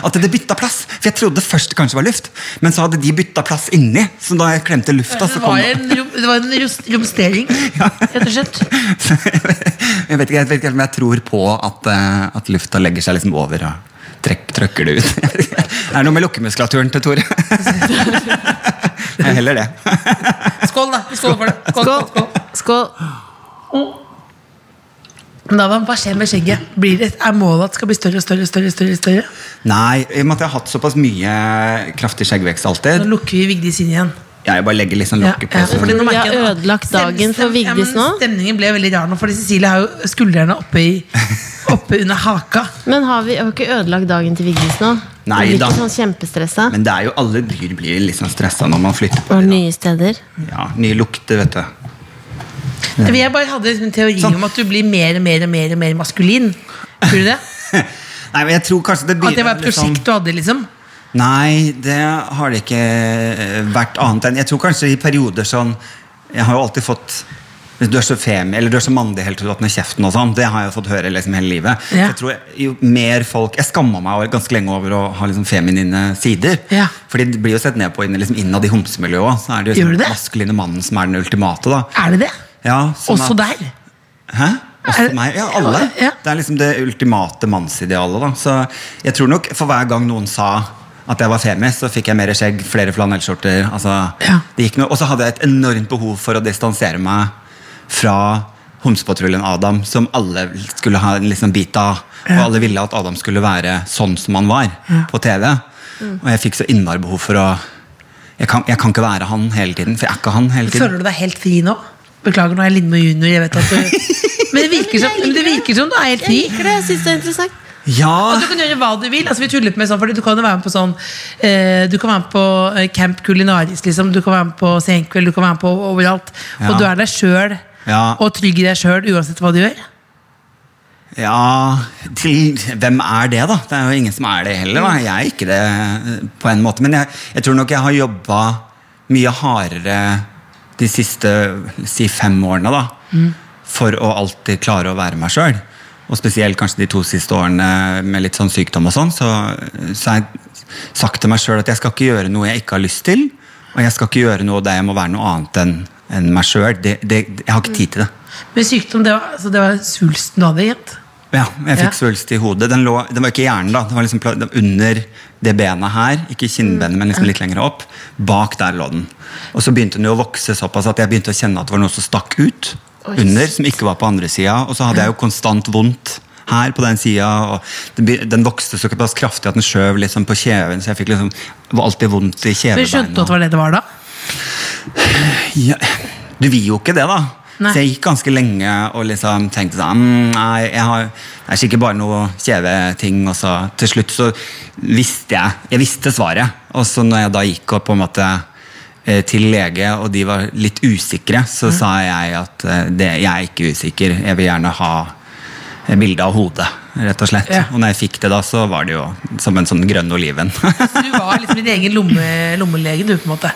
At det bytta plass. For jeg trodde først det kanskje var luft, men så hadde de bytta plass inni. Så da jeg klemte lufta, Det så var kom en, rom, det var en ros- romstering, rett og slett. Jeg vet ikke jeg vet ikke helt om jeg tror på at, eh, at lufta legger seg liksom over og trekk, trøkker det ut. Det er noe med lukkemuskulaturen til Tore. Det er heller det. Skål, da. Vi skåler for det. Skål, skål, skål. Skål. Men da, hva skjer med skjegget? Blir det, er målet at det skal bli større og større? større, større, større? Nei, i og med at jeg har hatt såpass mye kraftig skjeggvekst Nå alltid lukker vi Vigdis inn igjen. Jeg bare legger liksom lokket på. Ja, ja, sånn. fordi nå Vi merker har jeg at- ødelagt Stem- dagen for stem- ja, men Vigdis nå. Stemningen ble veldig rar nå, fordi Cecilie har jo skuldrene oppe, i, oppe under haka. Men har vi har vi ikke ødelagt dagen til Vigdis nå? Nei Vi blir da. ikke sånn kjempestressa. Men det er jo alle dyr blir liksom stressa når man flytter på Og dem. nye steder. Ja, nye lukter, vet du. Men Jeg bare hadde liksom en teori Sånn. om at du blir mer og mer og mer, og mer maskulin. Tror du det? Nei, men jeg tror kanskje det At det var begynner et liksom- prosjekt du hadde, liksom? Nei, det har det ikke eh, vært annet enn Jeg tror kanskje i perioder sånn Jeg har jo alltid fått du er så femi, eller du er så mandig helt til du åpner kjeften. og sånn, Det har jeg fått høre liksom hele livet. Ja. Så Jeg tror jo mer folk, jeg skamma meg ganske lenge over å ha liksom feminine sider. Ja. Fordi det blir jo sett ned på innen- liksom innad i homsemiljøet òg. Så er det jo Gjør sånn det det? maskuline mannen som er den ultimate. da. Er det det? Ja, sånn Også at- der? Hæ? Også Er- meg? Ja, alle. Ja. Det er liksom det ultimate mannsidealet. da Så jeg tror nok for hver gang noen sa at jeg var femis, så fikk jeg mer skjegg, flere flanellskjorter. Altså, Ja. det gikk noe. Og så hadde jeg et enormt behov for å distansere meg fra Homsepatruljen Adam, som alle skulle ha en liksom bit av. Og alle ville at Adam skulle være sånn som han var på TV. Mm. Og jeg fikk så innmari behov for å jeg kan, jeg kan ikke være han hele tiden, for jeg er ikke han hele tiden. Føler du deg helt fri nå? Beklager, nå er jeg Lindmo junior. Jeg vet at du... Men det virker som, men det virker som du er helt Jeg fri. liker det. Jeg syns det er interessant. Ja, Og du kan gjøre hva du vil. Altså, vi tullet med sånn, fordi Du kan jo være med på sånn eh, Du kan være med på eh, Camp Culinaris, liksom. du kan være med på Senkveld, du kan være med på overalt. Ja. Og du er deg sjøl, Ja. og trygg i deg sjøl uansett hva du gjør. Ja, til hvem er det, da? Det er jo ingen som er det heller. da Jeg er ikke det eh, på en måte. Men jeg, jeg tror nok jeg har jobba mye hardere de siste si fem årene, da. For å alltid klare å være meg sjøl. Og spesielt kanskje de to siste årene med litt sånn sykdom og sånn, så, så har jeg sagt til meg sjøl at jeg skal ikke gjøre noe jeg ikke har lyst til. Og jeg skal ikke gjøre noe der jeg må være noe annet enn enn meg sjøl. Det, det, jeg har ikke tid til det. Men sykdom, det var, altså, det var svulsten du hadde. Jent. Ja, jeg fikk Ja. svulst i hodet. Den, lå, den var ikke i hjernen, da. Den var liksom pla- under det benet her. Ikke kinnbenet, men liksom litt lenger opp. Bak der lå den. Og så begynte den jo å vokse såpass at jeg begynte å kjenne at det var noe som stakk ut. Under, som ikke var på andre sida. Og så hadde jeg jo konstant vondt her på den sida. og det blir- Den vokste såpass kraftig at den skjøv liksom på kjeven, så jeg fikk liksom, det var alltid vondt i Men kjevebeinet. skjønte du at det var det det var da? Ja, du vil jo ikke det, da. Nei. Så jeg gikk ganske lenge og liksom tenkte sånn mm, Nei, jeg har, det er sikkert bare noe kjeveting. Og så til slutt så visste jeg Jeg visste svaret. Og så når jeg da gikk og på en måte eh, til lege, og de var litt usikre, Mm. så sa jeg at eh, det, jeg er ikke usikker. Jeg vil gjerne ha eh, bilde av hodet, rett og slett. Ja. Og når jeg fikk det, da, så var det jo som en sånn grønn oliven. Så du var liksom din egen lomme, lommelege, du, på en måte.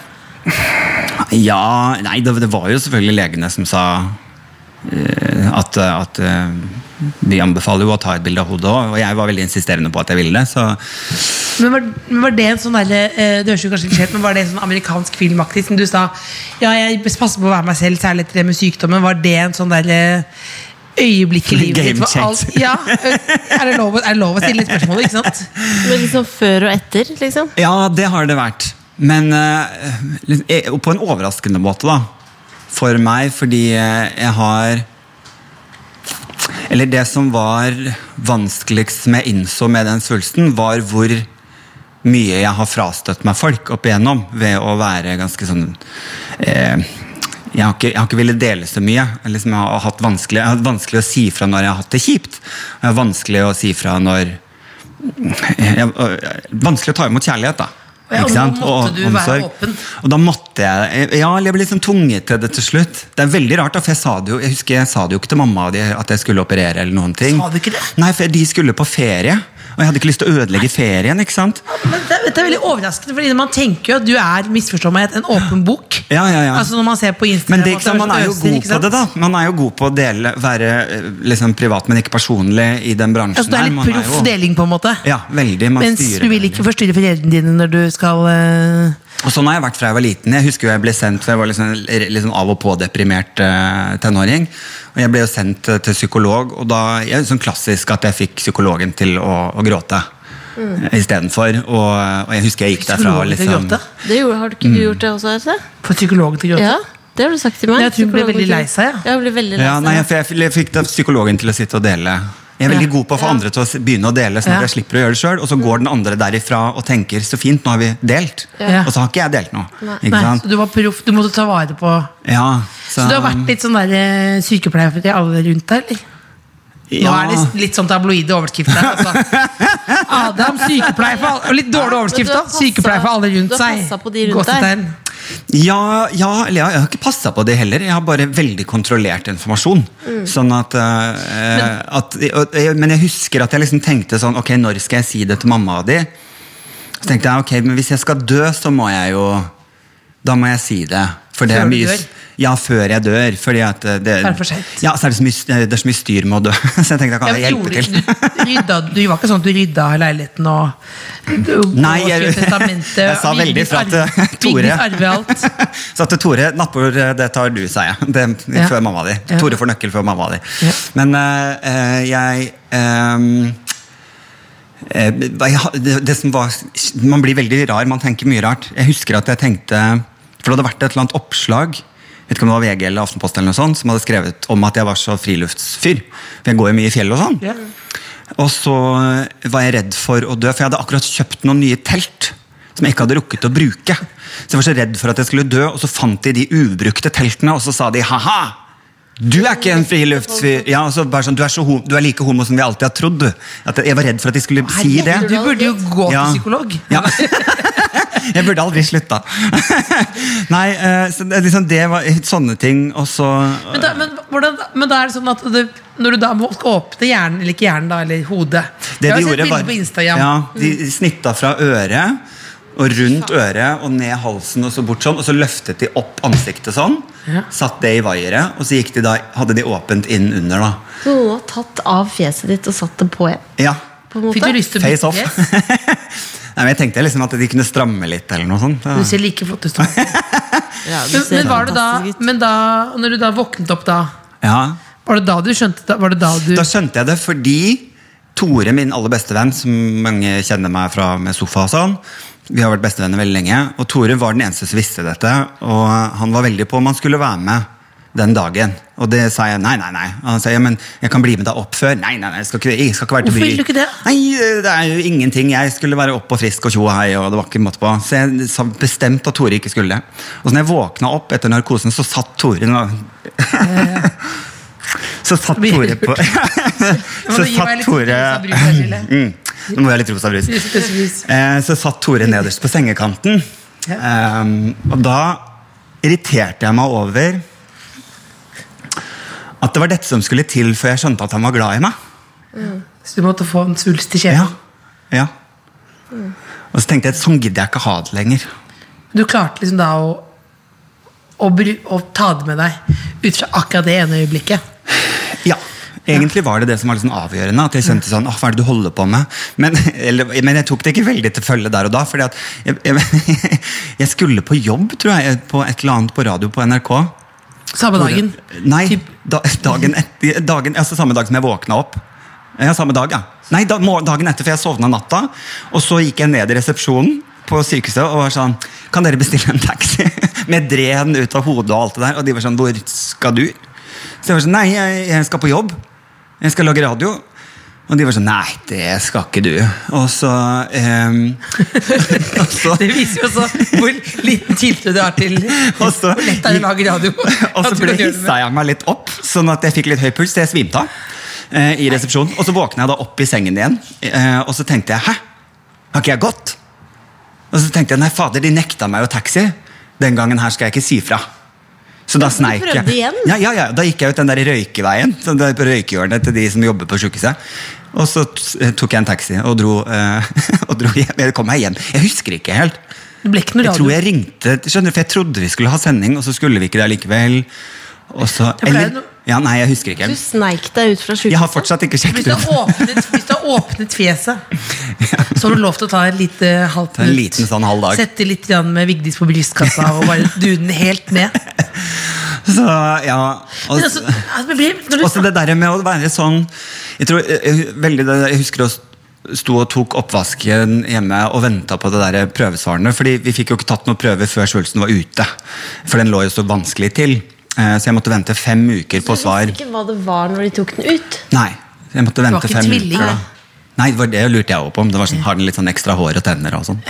Ja, nei, det, det var jo selvfølgelig legene som sa eh, at, at eh, de anbefaler jo å ta et bilde av hodet òg, og jeg var veldig insisterende på at jeg ville det. Så Men var, men var det en sånn derre eh, Det høres jo kanskje litt skjevt, men var det en sånn amerikansk filmaktig som du sa Ja, jeg passer på å være meg selv, særlig etter det med sykdommen. Var det en sånn derre øyeblikk i livet Game ditt? hvor alt- changer. Ja, eh, er, det lov, å- er det lov å stille et spørsmål, ikke sant? Men liksom før og etter, liksom. ja, det har det vært. Men eh, litt- eh, på en overraskende måte, da. For meg, fordi eh, jeg har Eller det som var vanskeligst som jeg innså med den svulsten, var hvor mye jeg har frastøtt meg folk opp igjennom ved å være ganske sånn eh, jeg har, ikke, jeg har ikke villet dele så mye. Jeg, liksom, jeg, har hatt vanskelig, jeg har hatt vanskelig å si fra når jeg har hatt det kjipt. Og jeg har vanskelig å si fra når jeg, jeg, Vanskelig å ta imot kjærlighet, da. Og ja, Ikke og sant? nå måtte du være åpen. Og da måtte jeg Ja, eller jeg ble liksom tvunget til det til slutt. Det er veldig rart, da, for jeg sa det jo Jeg husker jeg sa det jo ikke til mamma og de at jeg skulle operere. eller noen ting Sa du ikke det? Nei, for de skulle på ferie, og jeg hadde ikke lyst til å ødelegge ferien. ikke sant? Men det, det er veldig overraskende, fordi man tenker jo at du er misforstå meg, en åpen bok. Ja, ja, ja. Altså Når man ser på Instagram Men det, er ikke sant, man er jo god på det, da. Man er jo god på å dele, være eh, liksom, privat, men ikke personlig i den bransjen. Altså, det er her. litt Man proff jo- deling, på en måte. Ja, veldig. Man Mens du styrer vil veldig. ikke forstyrre foreldrene dine når du skal eh, Og sånn har jeg vært fra jeg var liten. Jeg husker jo jeg ble sendt, for jeg var liksom, liksom av og på deprimert eh, tenåring. Og jeg ble jo sendt eh, til psykolog, og da jeg er jo sånn klassisk at jeg fikk psykologen til å, å gråte. eh, Istedenfor. Og, og jeg husker jeg gikk derfra og Mm. psykologen til å liksom gråte. Det gjorde, har du ikke du Mm. gjort det også, Else? Få psykologen til å gråte. Ja, det har du sagt til meg. Jeg tror hun ble Psykologen veldig til- lei seg, ja. Ja, hun ble veldig lei Ja, seg. nei, jeg, f- jeg fikk da psykologen til å sitte og dele. Jeg er veldig god på å få andre til å s- begynne å dele, sånn at Ja. jeg slipper å gjøre det selv, Og så går den andre derifra og tenker 'så fint, nå har vi delt'. Ja. Og så har ikke jeg delt noe. Ikke Nei, sant? så du var proff, du måtte ta vare på Ja, Så du har vært litt sånn der eh, sykepleier for de alle rundt deg, eller? Nå er ja. det litt sånn tabloide overskrifter her, altså. Adam, sykepleier for alle og Litt dårlig overskrift, Men du da. har passet- Sykepleier for alle rundt du har seg. passet på de rundt Gåsetegn. Ja, ja, eller jeg, jeg har ikke passa på det heller. Jeg har bare veldig kontrollert informasjon. Mm. Sånn at, eh, at og, jeg- Men jeg husker at jeg liksom tenkte sånn Ok, når skal jeg si det til mamma og de? Så tenkte jeg ok, men hvis jeg skal dø, så må jeg jo Da må jeg si det. For det er Før du mye dør? s- Ja, før jeg dør. Fordi at eh, det, Så er det for sent. Ja, så er det så mye, s- det er så mye styr med å dø. Så jeg tenkte jeg kan Ja, jeg men hjelpe gjorde til. Du, rydda, du var ikke sånn at du rydda leiligheten og du, Nei, og skrev jeg, testamentet, jeg sa veldig Vigdis fra arv- til Tore. Vigdis arve alt. Så til Tore, nattbord, eh, det tar du, sa jeg. Det, Ja. Før mamma di. Ja. Tore får nøkkel før mamma di. Ja. Men eh, eh, jeg ehm, eh, jeg ha- det, det som var Man blir veldig rar, man tenker mye rart. Jeg husker at jeg tenkte For det hadde vært et eller annet oppslag vet ikke om det var VG eller Aftenposten eller noe sånt, som hadde skrevet om at jeg var så friluftsfyr. For jeg går jo mye i fjell og sånn. Ja. Og så eh, var jeg redd for å dø, for jeg hadde akkurat kjøpt noen nye telt. Som jeg ikke hadde rukket å bruke. Så jeg var så redd for at jeg skulle dø, og så fant de de ubrukte teltene, og så sa de ha-ha! Du er ikke en friluftsfyr! Ja, og så bare sånn, du er, så ho du er like homo som vi alltid har trodd. du. At jeg var redd for at de skulle si det. Du burde jo gå Ja. til psykolog. Ja. jeg burde aldri slutta. Nei, eh, så det, liksom, det var sånne ting, og så Men da, men, hvordan, men da er det sånn at det, når du da må åpne hjernen, eller ikke hjernen da, eller hodet Jeg Det de har sett gjorde bilder var på Instagram. Mm. ja, De snitta fra øret og rundt øret og ned halsen og så bort sånn. Og så løftet de opp ansiktet sånn. Ja. Satt det i vaieret, og så gikk de da, hadde de åpent inn under, da. Så noen har tatt av fjeset ditt og satt det på igjen? Ja. På en måte. Fikk du lyst til å Face off. bytte dress? Nei, men jeg tenkte liksom at de kunne stramme litt eller noe sånt. Du ser like flott ut som Ja, du men, ser men var det da, fantastisk ut. men da og Når du da våknet opp da, Ja. var det da du skjønte da, Var det da du Da skjønte jeg det fordi Tore, min aller beste venn, som mange kjenner meg fra med sofa og sånn, vi har vært bestevenner veldig lenge, og Tore var den eneste som visste dette, og han var veldig på om han skulle være med den dagen. Og det sa jeg nei, nei, nei. Og han sa ja, men jeg kan bli med deg opp før. Nei, nei, nei, jeg skal ikke, jeg skal ikke være til Hvorfor bry. ville du ikke det? Nei, det er jo ingenting. Jeg skulle være opp og frisk og tjo og hei, og det var ikke måte på. Så jeg sa bestemt at Tore ikke skulle. Og så når jeg våkna opp etter narkosen, så satt Tore nå. Så satt blir Tore på Så gi meg satt litt Tore rosa brus her, Lille. Mm. Nå må jeg ha litt rosa brus. Rosa brus. Eh, Så satt Tore nederst på sengekanten. Um, og da irriterte jeg meg over at det var dette som skulle til før jeg skjønte at han var glad i meg. Så du måtte få en svulst i Ja, kjeven? ja. Og så tenkte jeg at sånn gidder jeg ikke ha det lenger. Du klarte liksom da å, å, bru, å ta det med deg ut fra akkurat det ene øyeblikket. Ja, Egentlig var det det som var litt sånn avgjørende. At jeg kjente sånn, «Åh, hva er det du holder på med? Men, eller, men jeg tok det ikke veldig til følge der og da. fordi at jeg, jeg, jeg skulle på jobb, tror jeg, på et eller annet på radio på NRK. Samme Tore- dagen. Nei, Typ, da, dagen etter dagen, altså Samme dag som jeg våkna opp. Ja, samme dag, ja. Nei, da, mor- dagen etter, for jeg sovna natta. Og så gikk jeg ned i resepsjonen på sykehuset og var sånn Kan dere bestille en taxi? Med dren ut av hodet og alt det der. Og de var sånn Hvor skal du? Så jeg var sånn Nei, jeg, jeg skal på jobb. Jeg skal lage radio. Og de var sånn Nei, det skal ikke du. Og så, ehm, og så det viser jo også hvor liten tiltro du har til Og så- hvor lett det er å lage radio. Og så At du kan ble gjøre det med- hissa jeg meg litt opp, sånn at jeg fikk litt høy puls. Så jeg svimte av eh, i resepsjonen. Og så våkna jeg da opp i sengen igjen, eh, og så tenkte jeg 'hæ, har ikke jeg gått?' Og så tenkte jeg 'nei, fader, de nekta meg jo taxi'. Den gangen her skal jeg ikke si fra. Så da sneik jeg. prøvde igjen? Ja, ja, ja, Da gikk jeg ut den der røykeveien, så det er på røykehjørnet til de som jobber på sjukehuset. Og så t- eh, tok jeg en taxi og dro, eh, og dro hjem. Jeg kom meg hjem. Jeg husker ikke helt. Det ble ikke noe Jeg tror radio. jeg ringte, skjønner du, for jeg trodde vi skulle ha sending, og så skulle vi ikke det likevel. Og så, ble eller, noe- ja, nei, jeg husker ikke. Du sneik deg ut fra Jeg har sjukehuset. fortsatt ikke Hvis du, sjekket ut. har åpnet, hvis du har åpnet fjeset, så har du lov til å ta et lite halvt Ta en liten sånn halv dag. Sette litt grann med Vigdis på brystkassa og bare dune den helt ned. Så, ja. Men Og, altså, altså, det blir, når du og så det der med å være sånn, jeg tror, jeg, jeg- veldig, det- jeg husker å sto og tok oppvasken hjemme og ventet på det der eh, prøvesvarene, fordi vi fikk jo ikke tatt noen prøve før svulsten var ute, for den lå jo så vanskelig til. Eh, Så jeg måtte vente fem uker på svar. Du visste ikke hva det var når de tok den ut. Nei, jeg måtte var vente ikke fem tvilling, uker. nei. Da. Nei, det var det lurte jeg også på. Om det var sånn, Har den litt sånn ekstra hår og tenner og sånn.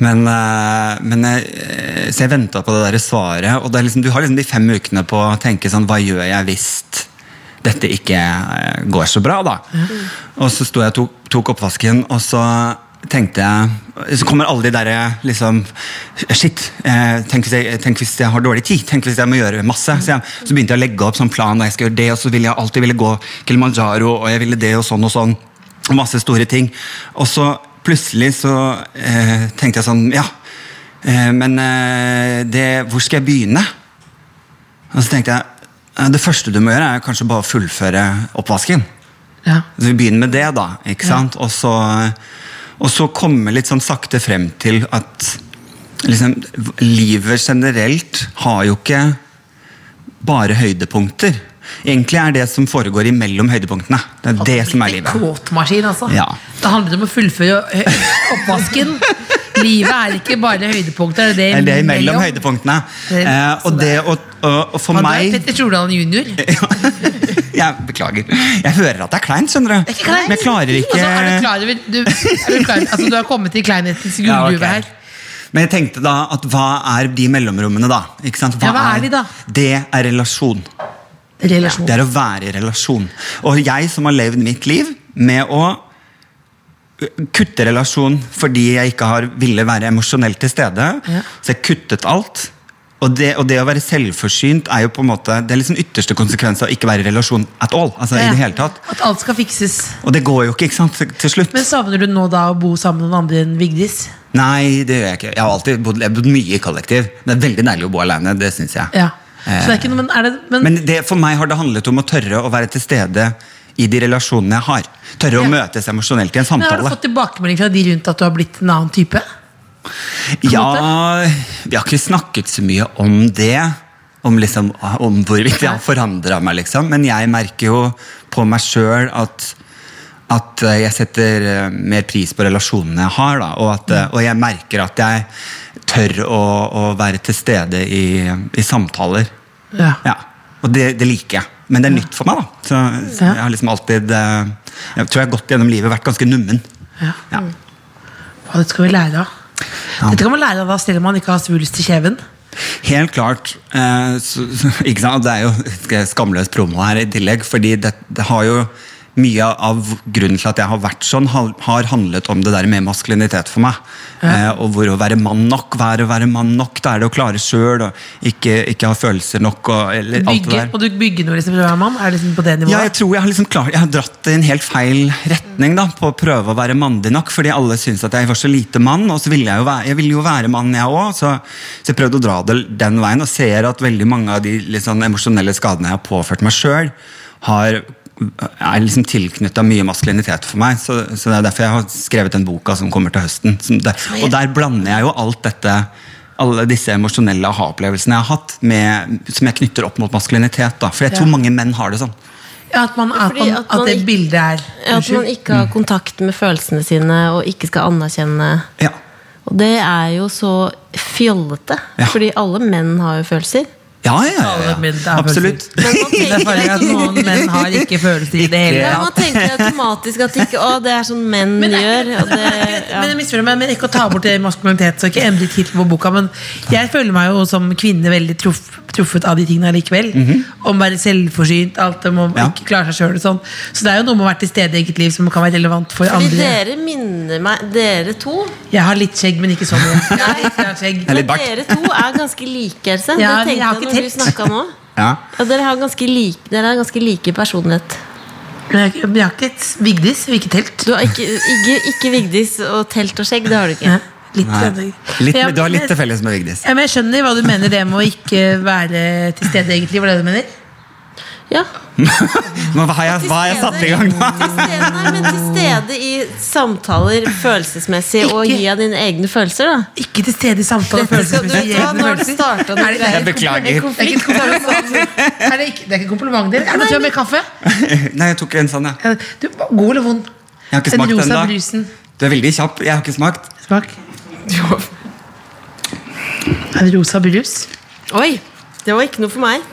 Men, eh, men jeg, eh, så jeg venta på det der svaret, og det er liksom, du har liksom de fem ukene på å tenke sånn Hva gjør jeg hvis dette ikke eh, går så bra, da? Og så sto jeg og tok, tok oppvasken, og så tenkte jeg Så kommer alle de derre liksom Shit, eh, tenk hvis, jeg, tenk hvis jeg har dårlig tid? Tenk hvis jeg må gjøre masse? Så, jeg, så begynte jeg å legge opp sånn plan, og jeg skal gjøre det, og så ville jeg alltid ville gå Kilimanjaro, og jeg ville det, og sånn og sånn. Og masse store ting. Og så plutselig så eh, tenkte jeg sånn, ja, eh, men eh, det, hvor skal jeg begynne? Og så tenkte jeg, eh, det første du må gjøre er kanskje bare å fullføre oppvasken. Ja. Så vi begynner med det, da. ikke sant? Og så, og så komme litt sånn sakte frem til at liksom, livet generelt har jo ikke bare høydepunkter. Egentlig er det som foregår imellom høydepunktene. Det er det som er livet. Kåtmaskin, altså. Ja. Da handler det om å fullføre ø, oppvasken. Livet er ikke bare høydepunkter, det Det er er det det imellom høydepunktene. Det- Eh, og så det det- å, å- å for Han er meg Petter Stordalen junior. Det Jeg beklager. Jeg hører at det er kleint, skjønner du. er ikke kleint. Men jeg klarer ikke altså, er du, klar over, du, er du, klar, altså, du har kommet til kleinhetens Ja, ok. gullgruve her. Men jeg tenkte da at hva er de mellomrommene, da? Ikke sant? Ja, hva er de da? Det er relasjon. Relasjon. Det er å være i relasjon. Og jeg som har levd mitt liv med å kutte relasjon fordi jeg ikke har ville være emosjonelt til stede, Ja. så jeg kuttet alt. Og det, og det å være selvforsynt er jo på en måte Det er liksom ytterste konsekvens av å ikke være i relasjon at all. Altså i det hele tatt. At alt skal fikses. Og det går jo ikke, ikke sant, til- til slutt. Men savner du nå da å bo sammen med noen andre enn Vigdis? Nei, det gjør jeg ikke. Jeg har alltid bodd, jeg har bodd mye i kollektiv. Det er veldig deilig å bo alene, det syns jeg. Ja. Så det er ikke noe, men er det, men, Eh, Men det, for meg har det handlet om å tørre å være til stede i de relasjonene jeg har. Tørre Ja. å møtes emosjonelt i en men har du samtale. fått tilbakemelding fra de rundt at du har blitt en annen type? Ja, vi har ikke snakket så mye om det. Om, liksom, om hvorvidt jeg har forandra meg, liksom. Men jeg merker jo på meg sjøl at at eh, jeg setter eh, mer pris på relasjonene jeg har, da, og, at, eh, og jeg merker at jeg tør å, å være til stede i, i samtaler. Ja. Ja. Og det, det liker jeg. Men det er nytt for meg, da. Så, så Ja. jeg har liksom alltid eh, Jeg tror jeg har gått gjennom livet vært ganske nummen. Ja. Ja. Hva dette skal vi lære av? Ja. Dette kan man lære av da selv om man ikke har svulst i kjeven. Helt klart. eh, så, så, ikke sant? Det er jo skamløs promo her i tillegg, fordi det, det har jo mye av grunnen til at jeg har vært sånn, har har handlet om det der med maskulinitet for meg. Eh, og hvor å være mann nok, være, være mann nok, det er det å klare sjøl, og ikke, ikke ha følelser nok. Og, eller, alt det Bygge, der. må du bygge noe liksom, for å være mann? Er det liksom på det Ja, jeg nivået? tror jeg har, liksom klart, jeg har dratt det i en helt feil retning da, på å prøve å være mandig nok, fordi alle syntes at jeg var så lite mann, og så ville jeg jo være, jeg ville jo være mann jeg også, så, så jeg prøvde å dra det den veien, og ser at veldig mange av de litt sånn emosjonelle skadene jeg har påført meg selv, har, er liksom tilknyttet mye maskulinitet for meg, så, så det er derfor jeg har skrevet den boka som kommer til høsten. Som der, og der blander jeg jo alt dette, alle disse emosjonelle aha-opplevelsene jeg har hatt, med, som jeg knytter opp mot maskulinitet, da, for jeg tror Ja. mange menn har det sånn. Ja, at, man, at, Fordi man, at at man det ikke- bildet er At man ikke Mm. har kontakt med følelsene sine og ikke skal anerkjenne Ja. Og det er jo så fjollete, Ja. fordi alle menn har jo følelser. Ja, ja, ja, Alle menn ja. er Absolutt. Men man Det er tenker, farlig at noen menn har ikke følelser i det hele ja, tatt. man tenker automatisk at ikke, å, det er sånn menn gjør. Og det, ja. Men jeg misforstår meg, men ikke å ta bort det maskulinitet, så ikke endelig tittel på boka, men jeg føler meg jo som kvinne veldig truff, truffet av de tingene likevel. Om å være selvforsynt, alt om å Mhm. Ja. ikke klare seg sjøl og sånn. Så det er jo noe med å være til stede i eget liv som kan være relevant for Fordi andre. dere minner meg Dere to Jeg har litt skjegg, men ikke sånn. Jeg har litt grann skjegg. Eller men bart. dere to er ganske like, Else. Ja, det vi har tenkte ikke jeg når du tett. snakka nå. Ja. Ja, dere, har ganske like, dere har ganske like personlighet. Men jeg- men jeg har ikke et Vigdis, hvilket telt. Du har ikke, ikke, ikke Vigdis og telt og skjegg. Det har du ikke. Ja, litt, Nei. Men Litt, jeg- du har litt til felles med Vigdis. Ja, men jeg skjønner hva du mener, det med å ikke være til stede i eget liv. Var det det du mener? Ja. Men Hva har jeg, hva har jeg satt i gang da? Til stede, nei, men til stede i samtaler følelsesmessig og Ikke- gi av dine egne følelser, da. Ikke til stede i samtale og Dette skal du- følelser. vet du hva, nå har du startet noe Er det- greier. Jeg beklager. Det er ikke komplimenter. Er det, ikke, det er ikke komplimenter. Er det til og med kaffe? Nei, jeg tok en sånn, ja. Er det- Du, god eller vond? Jeg har ikke smakt den den rosa da. brusen. Du er veldig kjapp. Jeg har ikke smakt. Smak. Er det rosa brus? Oi, det var ikke noe for meg.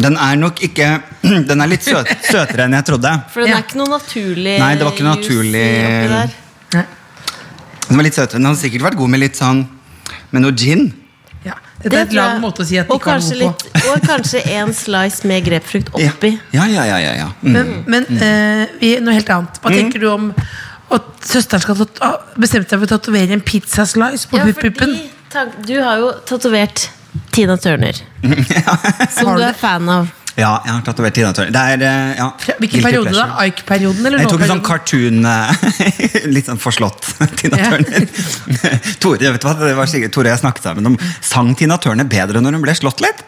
Den er nok ikke Den er litt søt, søtere enn jeg trodde. For den Ja. er ikke noe naturlig Nei, det var ikke noe juice oppi naturlig- eh, der. Nei. Den var litt søtere. Den hadde sikkert vært god med litt sånn Med noe gin. Ja. Dette er et tror jeg- lang måte å si at det og ikke var kanskje god på. litt- Og kanskje en slice med grepfrukt Ja, oppi. ja, ja. ja, ja, ja. Mm. Men, men eh, vi, noe helt annet. Hva tenker du om at søsteren skal tat- ah, bestemte seg for å tatovere en pizzaslice på Ja, pupp-puppen? fordi tank- du har jo tatovert Tina Turner. Som Har du du er det? fan av. Ja, jeg har tatovert Tina Turner. Det er eh, ja. Hvilken guilty periode da? pleasure. Ike-perioden? eller Jeg tok en sånn nå-perioden? cartoon eh, Litt sånn forslått Tina Ja. Turner. Tore, vet du hva? Det var sikkert, Tore jeg snakket sammen om. Sang Tina Turner bedre når hun ble slått litt?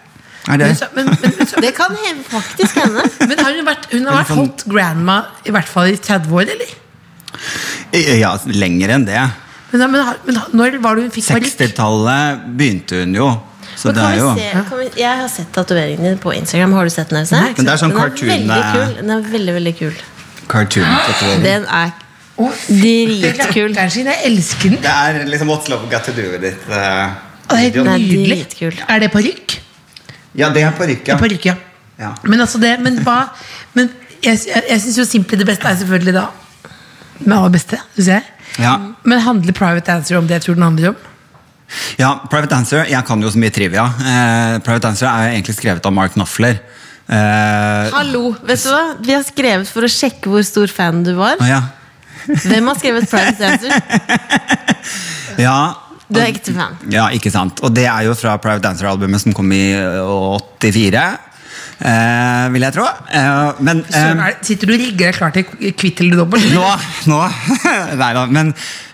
Er det? Men så- men- men- men så- Det kan he- faktisk hende. Men har hun vært, hun har vært Eller sånn- holdt grandma i hvert fall i 30 år, eller? Ja, lenger enn det. Men, men, har- men har- når var det hun fikk parykk? 60-tallet begynte hun jo. Så Men det kan er vi jo se, kan vi, jeg har sett tatoveringen din på Instagram. Har du sett den? Else? Nei, ikke Men det er Mm. sånn den er cartoon, veldig eh, kul. Den er veldig, veldig kul. cartoon. tatovering. Den er Å, dritkul. rakkeren sin, jeg elsker den. Det er liksom What's Love Got To Do With It. Å, eh, Det er helt video. Nei. nydelig. dritkul. Er det parykk? Ja, det er parykk, ja. Parykk, ja. Ja. Men altså det, men hva Men jeg, jeg, jeg syns jo simpelt det beste er selvfølgelig da med aller beste, syns jeg. Ja. Men handler Private Dancer om det jeg tror den handler om? Ja, Private Dancer, jeg kan jo så mye trivia. Eh, Private Dancer er jo egentlig skrevet av Mark Knopfler. Eh, Hallo, vet du hva? Vi har skrevet for å sjekke hvor stor fan du var. ja. Hvem har skrevet Private Dancer? ja, Du er ekte fan. Ja, ikke sant. Og det er jo fra Private Dancer-albumet som kom i ø, 84. eh, vil jeg tro. Eh, men Så eh, er, sitter du og rigger deg klar til kvitt eller dobbelt? nå, nå Nei da. Men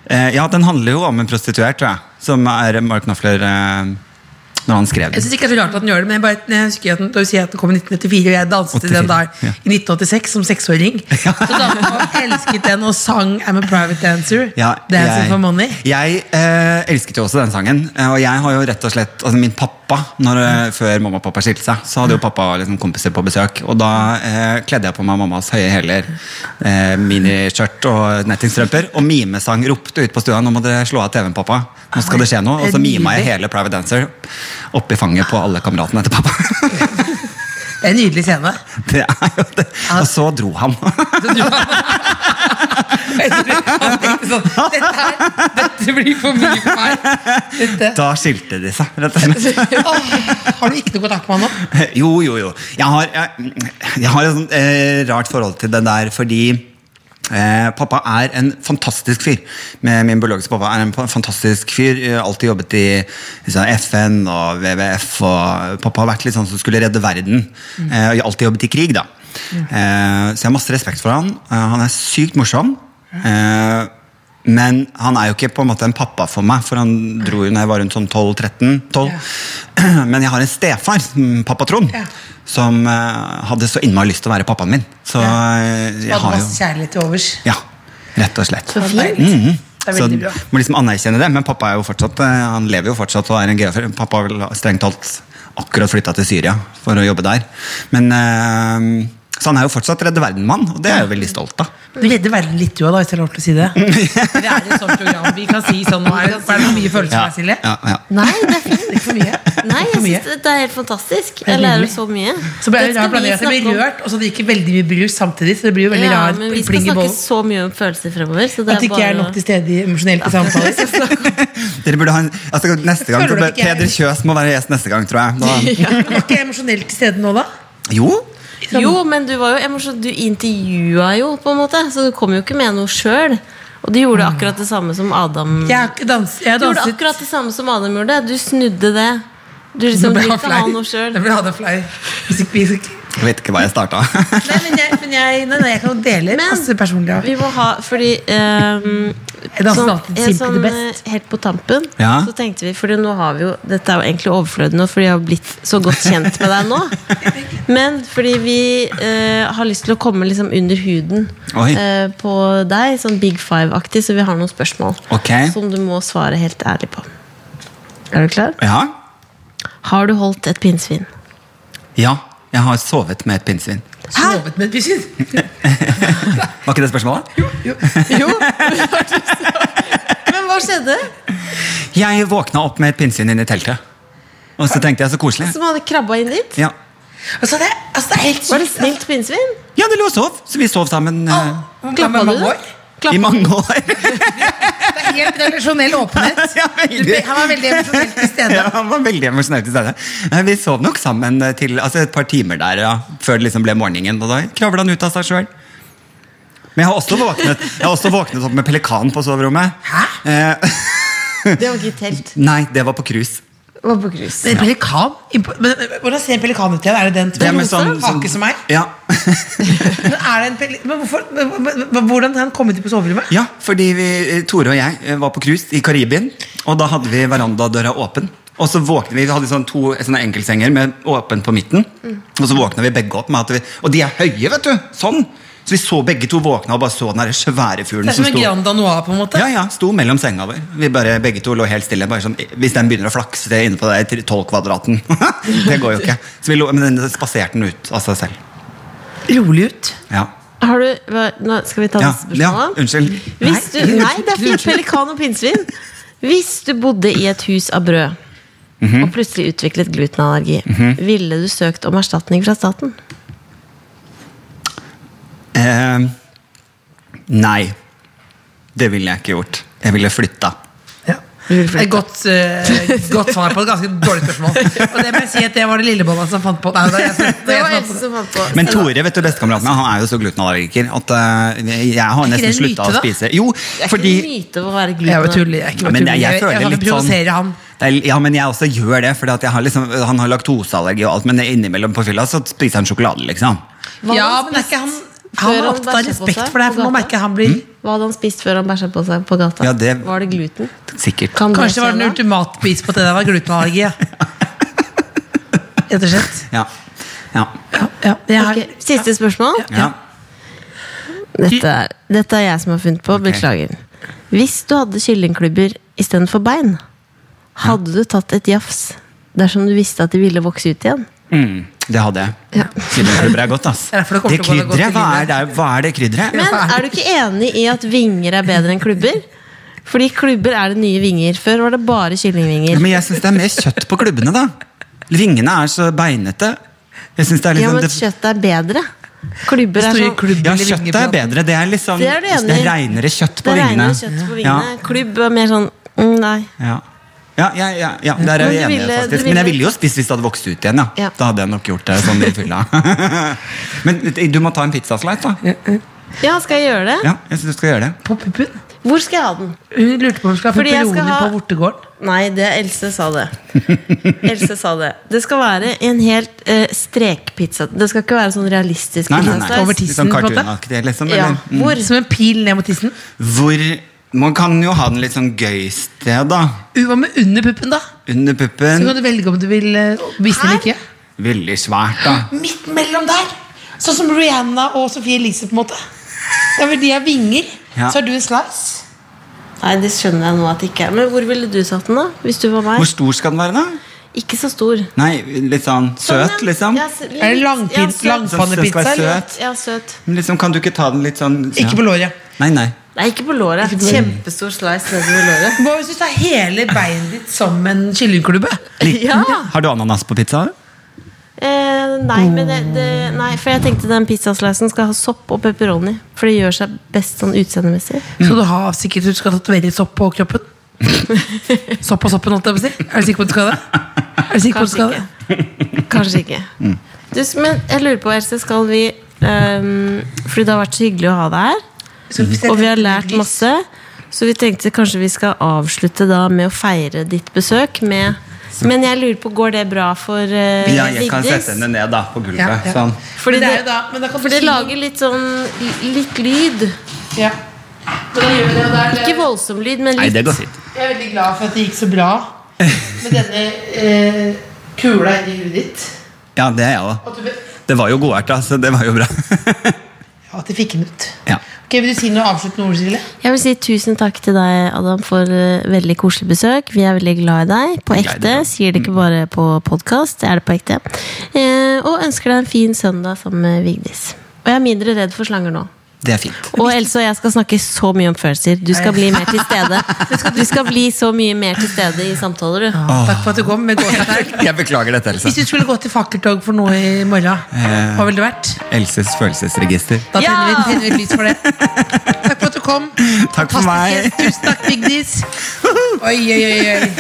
eh, ja, den handler jo om en prostituert, tror jeg. Som er Mark Knopfler eh, når han skrev Jeg den. synes ikke det er så rart at den gjør det, men jeg, bare, jeg husker at den, da du sier at den kom i 1994, og jeg danset til den da 84, ja. i 1986 som seksåring. Så danset jeg og elsket den og sang I'm a private dancer. Ja, Dancing for money. Jeg eh, elsket jo også den sangen. eh, Og jeg har jo rett og slett Altså, min pappa pappa når, Mm. eh, før mamma og pappa skilte seg. Så hadde jo pappa liksom kompiser på besøk, og da eh, kledde jeg på meg mammas høye hæler, eh, miniskjørt og nettingstrømper, og mimesang ropte ut på stua 'Nå må dere slå av TV-en, pappa. Nå skal det skje noe.' Og så mima jeg hele Private Dancer oppi fanget på alle kameratene til pappa. Det er en nydelig scene. Det er jo det. Ah. Og så dro han. Han tenkte sånn Dette, her, dette blir for mye for meg. Dette. Da skilte de seg, rett og slett. Åh, har du ikke noe kontakt med han nå? Jo, jo, jo. Jeg har, jeg, jeg har et sånt, eh, rart forhold til den der fordi Eh, pappa er en fantastisk fyr. Med min biologiske pappa er en fa- fantastisk fyr. Eh, Alltid jobbet i liksom, FN og WWF. Og pappa har vært litt sånn som skulle redde verden. Eh, og alltid jobbet i krig, da. Eh, så jeg har masse respekt for han. Eh, han er sykt morsom. Eh, men han er jo ikke på en måte en pappa for meg, for han dro jo når jeg var rundt sånn 12-13. 12. Men jeg har en stefar, mm, pappa Trond, Ja. som eh, hadde så innmari lyst til å være pappaen min. Så eh, Du jeg hadde har jo masse kjærlighet til overs. Ja, rett og slett. Så fint. Mhm. Det er Så veldig bra. må liksom anerkjenne det, men pappa er jo fortsatt eh, Han lever jo fortsatt og er en geofer. Pappa har vel strengt talt akkurat flytta til Syria for å jobbe der. Men eh, Så han er jo fortsatt Redde verden-mann, og det er jeg jo veldig stolt av. Du redder verden litt du òg, hvis jeg har lov til å si det. Det er et sånt program. Vi kan si sånn nå. Er det, er det for mye følelser Ja, her, Silje? ja, ja. Nei, det er fint. Ikke for mye. Nei, Ikke jeg for mye. synes det- det er helt fantastisk. Jeg er lærer nydelig. så mye. Så ble det Dette rar skal vi blanding. at Jeg ble snakke om. rørt, og så gikk det veldig mye brus samtidig. Så det blir jo veldig Ja, rar men vi skal pling i snakke bollen. så mye om følelser fremover. Så det At er det ikke bare er å- nok til stede i- emosjonelt i samtaler. Dere burde ha en, altså Neste gang Føler så dere bør- ikke jeg- Peder Kjøs må være gjest neste gang, tror jeg. Da, Var ikke jeg emosjonelt til stede nå, da? jo, Jo, men du var jo emosjon- Du intervjua jo, på en måte, så du kom jo ikke med noe sjøl. Og du gjorde akkurat det samme som Adam. Mm. Jeg har ikke dans, jeg har Du gjorde danset akkurat det samme som Adam gjorde. Du snudde det. Du liksom Nå ble ville han ikke ha flau. noe Nå sjøl. ble han flau. Hvis ikke- hvis ikke- jeg vet ikke hva jeg starta. Nei, men jeg, men jeg, nei, nei, jeg kan jo dele Men- masse personlig av. Vi må ha Fordi ehm, Jeg danser alltid en simpel det best. eh, Helt på tampen Ja. Så tenkte vi, for nå har vi jo Dette er jo egentlig overflødig nå Fordi jeg har blitt så godt kjent med deg nå Men fordi vi eh, har lyst til å komme liksom under huden Oi. eh, På deg Sånn big five-aktig Så vi har noen spørsmål Ok. Som du må svare helt ærlig på Er du klar? Ja, Har du holdt et pinnsvin? ja jeg har sovet med et pinnsvin. eh, Sovet med et pinnsvin. Var ikke det spørsmålet? Jo. Jo Men hva skjedde? Jeg våkna opp med et pinnsvin inne i teltet. Og så tenkte jeg så koselig. Som hadde krabba inn dit? Ja, Altså, det, altså, det er helt Var det sykt. snilt pinnsvin? ja det lå og sov, så vi sov sammen eh, Klappa Klappa du? du? År. i mange år. Det er helt relasjonell åpenhet. Ja, Du, veldig. han var veldig emosjonelt til stede. Ja, han var veldig emosjonell til stede. Eh, Vi sov nok sammen eh, til altså et par timer der, ja, før det liksom ble morgenen. Og da kravla han ut av seg sjøl. Men jeg har også våknet Jeg har også våknet opp med pelikan på soverommet. Eh, Det var ikke et telt. nei, det var på cruise. Det var på cruise. Men en pelikan? Impo- men, men, hvordan ser en pelikan ut igjen? Er det den Det er med sånn, sånn- sånn- hake som meg? Ja. Men er det en peli men hvorfor, men, men, men, hvordan har han kommet inn på soverommet? ja, fordi vi, eh, Tore og jeg eh, var på cruise i Karibien, og da hadde vi verandadøra åpen. Og så våknet Vi vi hadde sånn to sånne enkeltsenger med åpen på midten. Og så våkna vi begge opp med at vi Og de er høye, vet du! Sånn! Så vi så begge to våkna og bare så den der svære fuglen Det er som en sto Grand Danois, på en måte. Ja, ja, sto mellom senga vår. Vi bare, begge to lå helt stille. Bare sånn, hvis den begynner å flakse inne på deg til 12 kvadraten Det går jo ikke. Så vi lå, men den spaserte den ut av seg selv. Rolig ut. Ja. Har du, hva- nå skal vi ta Ja, neste spørsmål? ja, unnskyld. Hvis du, nei, det er fint. Pelikan og pinnsvin. Hvis du bodde i et hus av brød, og plutselig utviklet glutenallergi, ville du søkt om erstatning fra staten? Eh, nei. Det ville jeg ikke gjort. Jeg ville flytta. Ja. Det er et godt, eh, godt svar på et ganske dårlig spørsmål. Og det må jeg si at det var det lillebolla som fant på Nei, det. Er jeg, som- det er Det jeg var som fant på Else det. som fant på. Men Tore, vet du, bestekameraten min, han er jo så glutenallergiker at eh, jeg har ikke nesten det en myte, slutta å da? spise. Jo, det er fordi ikke en myte å være Jeg var gluten. tullig. Jeg, er ikke Ja, bare men jeg, tullig. jeg føler jeg, jeg litt sånn provoserer han. Det er, Ja, men jeg også gjør det. Fordi at jeg har liksom, han har laktoseallergi og alt, men innimellom på fylla så spiser han sjokolade, liksom. Hva Ja, hadde men det er ikke han før Han er han opptatt av bæsjer på respekt seg for deg, på for nå gata? merker jeg han blir Hva hadde han spist før han bæsja på seg på gata? Ja, det- Var det gluten? Sikkert. Kan Kanskje det var den skje da? ultimate pris på at det der var glutenallergi. ja. Rett og slett. Ja. ja. Ja, ja. Jeg har- Ok, Siste spørsmål. ja. Dette er, dette er jeg som har funnet på. Beklager. Hvis du hadde kyllingklubber istedenfor bein, hadde du tatt et jafs dersom du visste at de ville vokse ut igjen. Mm, det hadde jeg. Ja. Krydderklubber er godt, ass. Det er derfor det kommer Det til å gå godt i krydderet, hva livet. er det, hva er det krydderet? Men er du ikke enig i at vinger er bedre enn klubber? Fordi klubber er det nye vinger. Før var det bare kyllingvinger. Men jeg syns det er mer kjøtt på klubbene, da. Vingene er så beinete. Jeg synes det er Ja, liksom men det, kjøttet er bedre. Klubber er sånn ja, kjøttet er bedre. Det er liksom Det er du enig i. det er reinere kjøtt på Det vingene. regner kjøtt på vingene. Klubb er mer sånn mm, Nei. Ja. Ja, ja, ja, ja, der er Men jeg enig, du ville- du faktisk. Men jeg ville- ville jo spist hvis det hadde vokst ut igjen. Ja. Ja. Da hadde jeg nok gjort det sånn i fylla. Men du må ta en pizzaslice, da. Ja, skal jeg gjøre det? Ja, jeg synes du skal gjøre det. På puppen? Hvor skal jeg ha den? Hun lurte på om hun skulle ha Fordi jeg skal pepperoni ha- på vortegården. Nei, det Else sa det. Else sa det. Det skal være en helt eh, strekpizza. Det skal ikke være sånn realistisk. Nei, nei, nei. pizzaslice. Over Litt sånn tissen, på en måte. cartoonaktig, liksom. Ja. Eller? Mm. Hvor? Som en pil ned mot tissen. Hvor Man kan jo ha den litt sånn gøy sted, da. Hun var med under puppen, da. Under Så puppen. kan du velge om du vil eh, vise den eller ikke. Veldig svært, da. Midt mellom der. Sånn som Rihanna og Sophie Elise, på en måte. Det er vel de har vinger. Ja. Så har du en slice. Nei, det skjønner jeg nå at det ikke er. Men hvor ville du satt den, da? Hvis du var Hvor meg? stor skal den være, da? Ikke så stor. Nei, litt sånn søt, Sånn, ja. liksom? Ja, s- litt- Er det langpin- ja, søt. lang- Sånn, den skal Pannepizza, være eller? søt. Ja, søt. Men liksom, kan du ikke ta den litt sånn Ikke på låret. Nei, nei. Nei, ikke på låret. Kjempestor slice nedover låret. Hva hvis du tar hele beinet ditt som en kyllingklubbe? Liten. Ja. Har du ananas på pizza? Eh, nei, men det, det, nei, for jeg tenkte den pizzaslicen skal ha sopp og pepperoni. For det gjør seg best sånn utseendemessig. Så du har sikkert du skal tatovere sopp på kroppen? Sopp på soppen, holdt jeg på å si. Er du sikker på at du skal det? Er du sikker på at du Kanskje skal det? ikke. Kanskje ikke. Du, s- men jeg lurer på, Else, skal vi ehm, Fordi det har vært så hyggelig å ha deg her, Skal Mhm. vi og vi har lært masse. Så vi tenkte kanskje vi skal avslutte da med å feire ditt besøk med Men jeg lurer på, går det bra for uh, Ja, jeg kan sette henne ned da, på gulvet. Ja, ja. Sånn. Men Fordi det er det- jo da, men da kan du For det si- lager litt sånn litt lyd. Ja. Men da gjør vi det, og da er det- Ikke voldsom lyd, men Nei, litt det går fint. Jeg er veldig glad for at det gikk så bra med denne eh, kula inni huet ditt. Ja, det er jeg òg. At du, be- Det var jo godert, da, så det var jo bra. ja, at du fikk den ut. ja. Ok, Vil du si noe avsluttende ord, Silje? Jeg vil si tusen takk til deg, Adam, for eh, veldig koselig besøk. Vi er veldig glad i deg. Mm. På Jeg er ekte. glad. Sier det ikke bare på podkast, det er det på ekte. Eh, og ønsker deg en fin søndag sammen med Vigdis. Og jeg er mindre redd for slanger nå. Det er fint. Og Else og jeg skal snakke så mye om følelser. Du skal bli mer til stede. Du skal bli så mye mer til stede i samtaler, du. Ah. Takk for at du kom. med gåsehud. Jeg beklager dette, Hvis Else. du skulle gå til fakkeltog for noe i Eh. morgen, hva ville det vært? Elses følelsesregister. Da tenner vi, Ja! tenner vi et lys for det. Takk for at du kom. Takk Fantastisk for meg. gjest. Tusen takk, Vigdis. Oi, oi, oi, oi.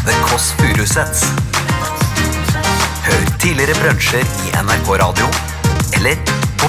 The Kåss Furuseths. Hør tidligere brunsjer i NRK Radio eller på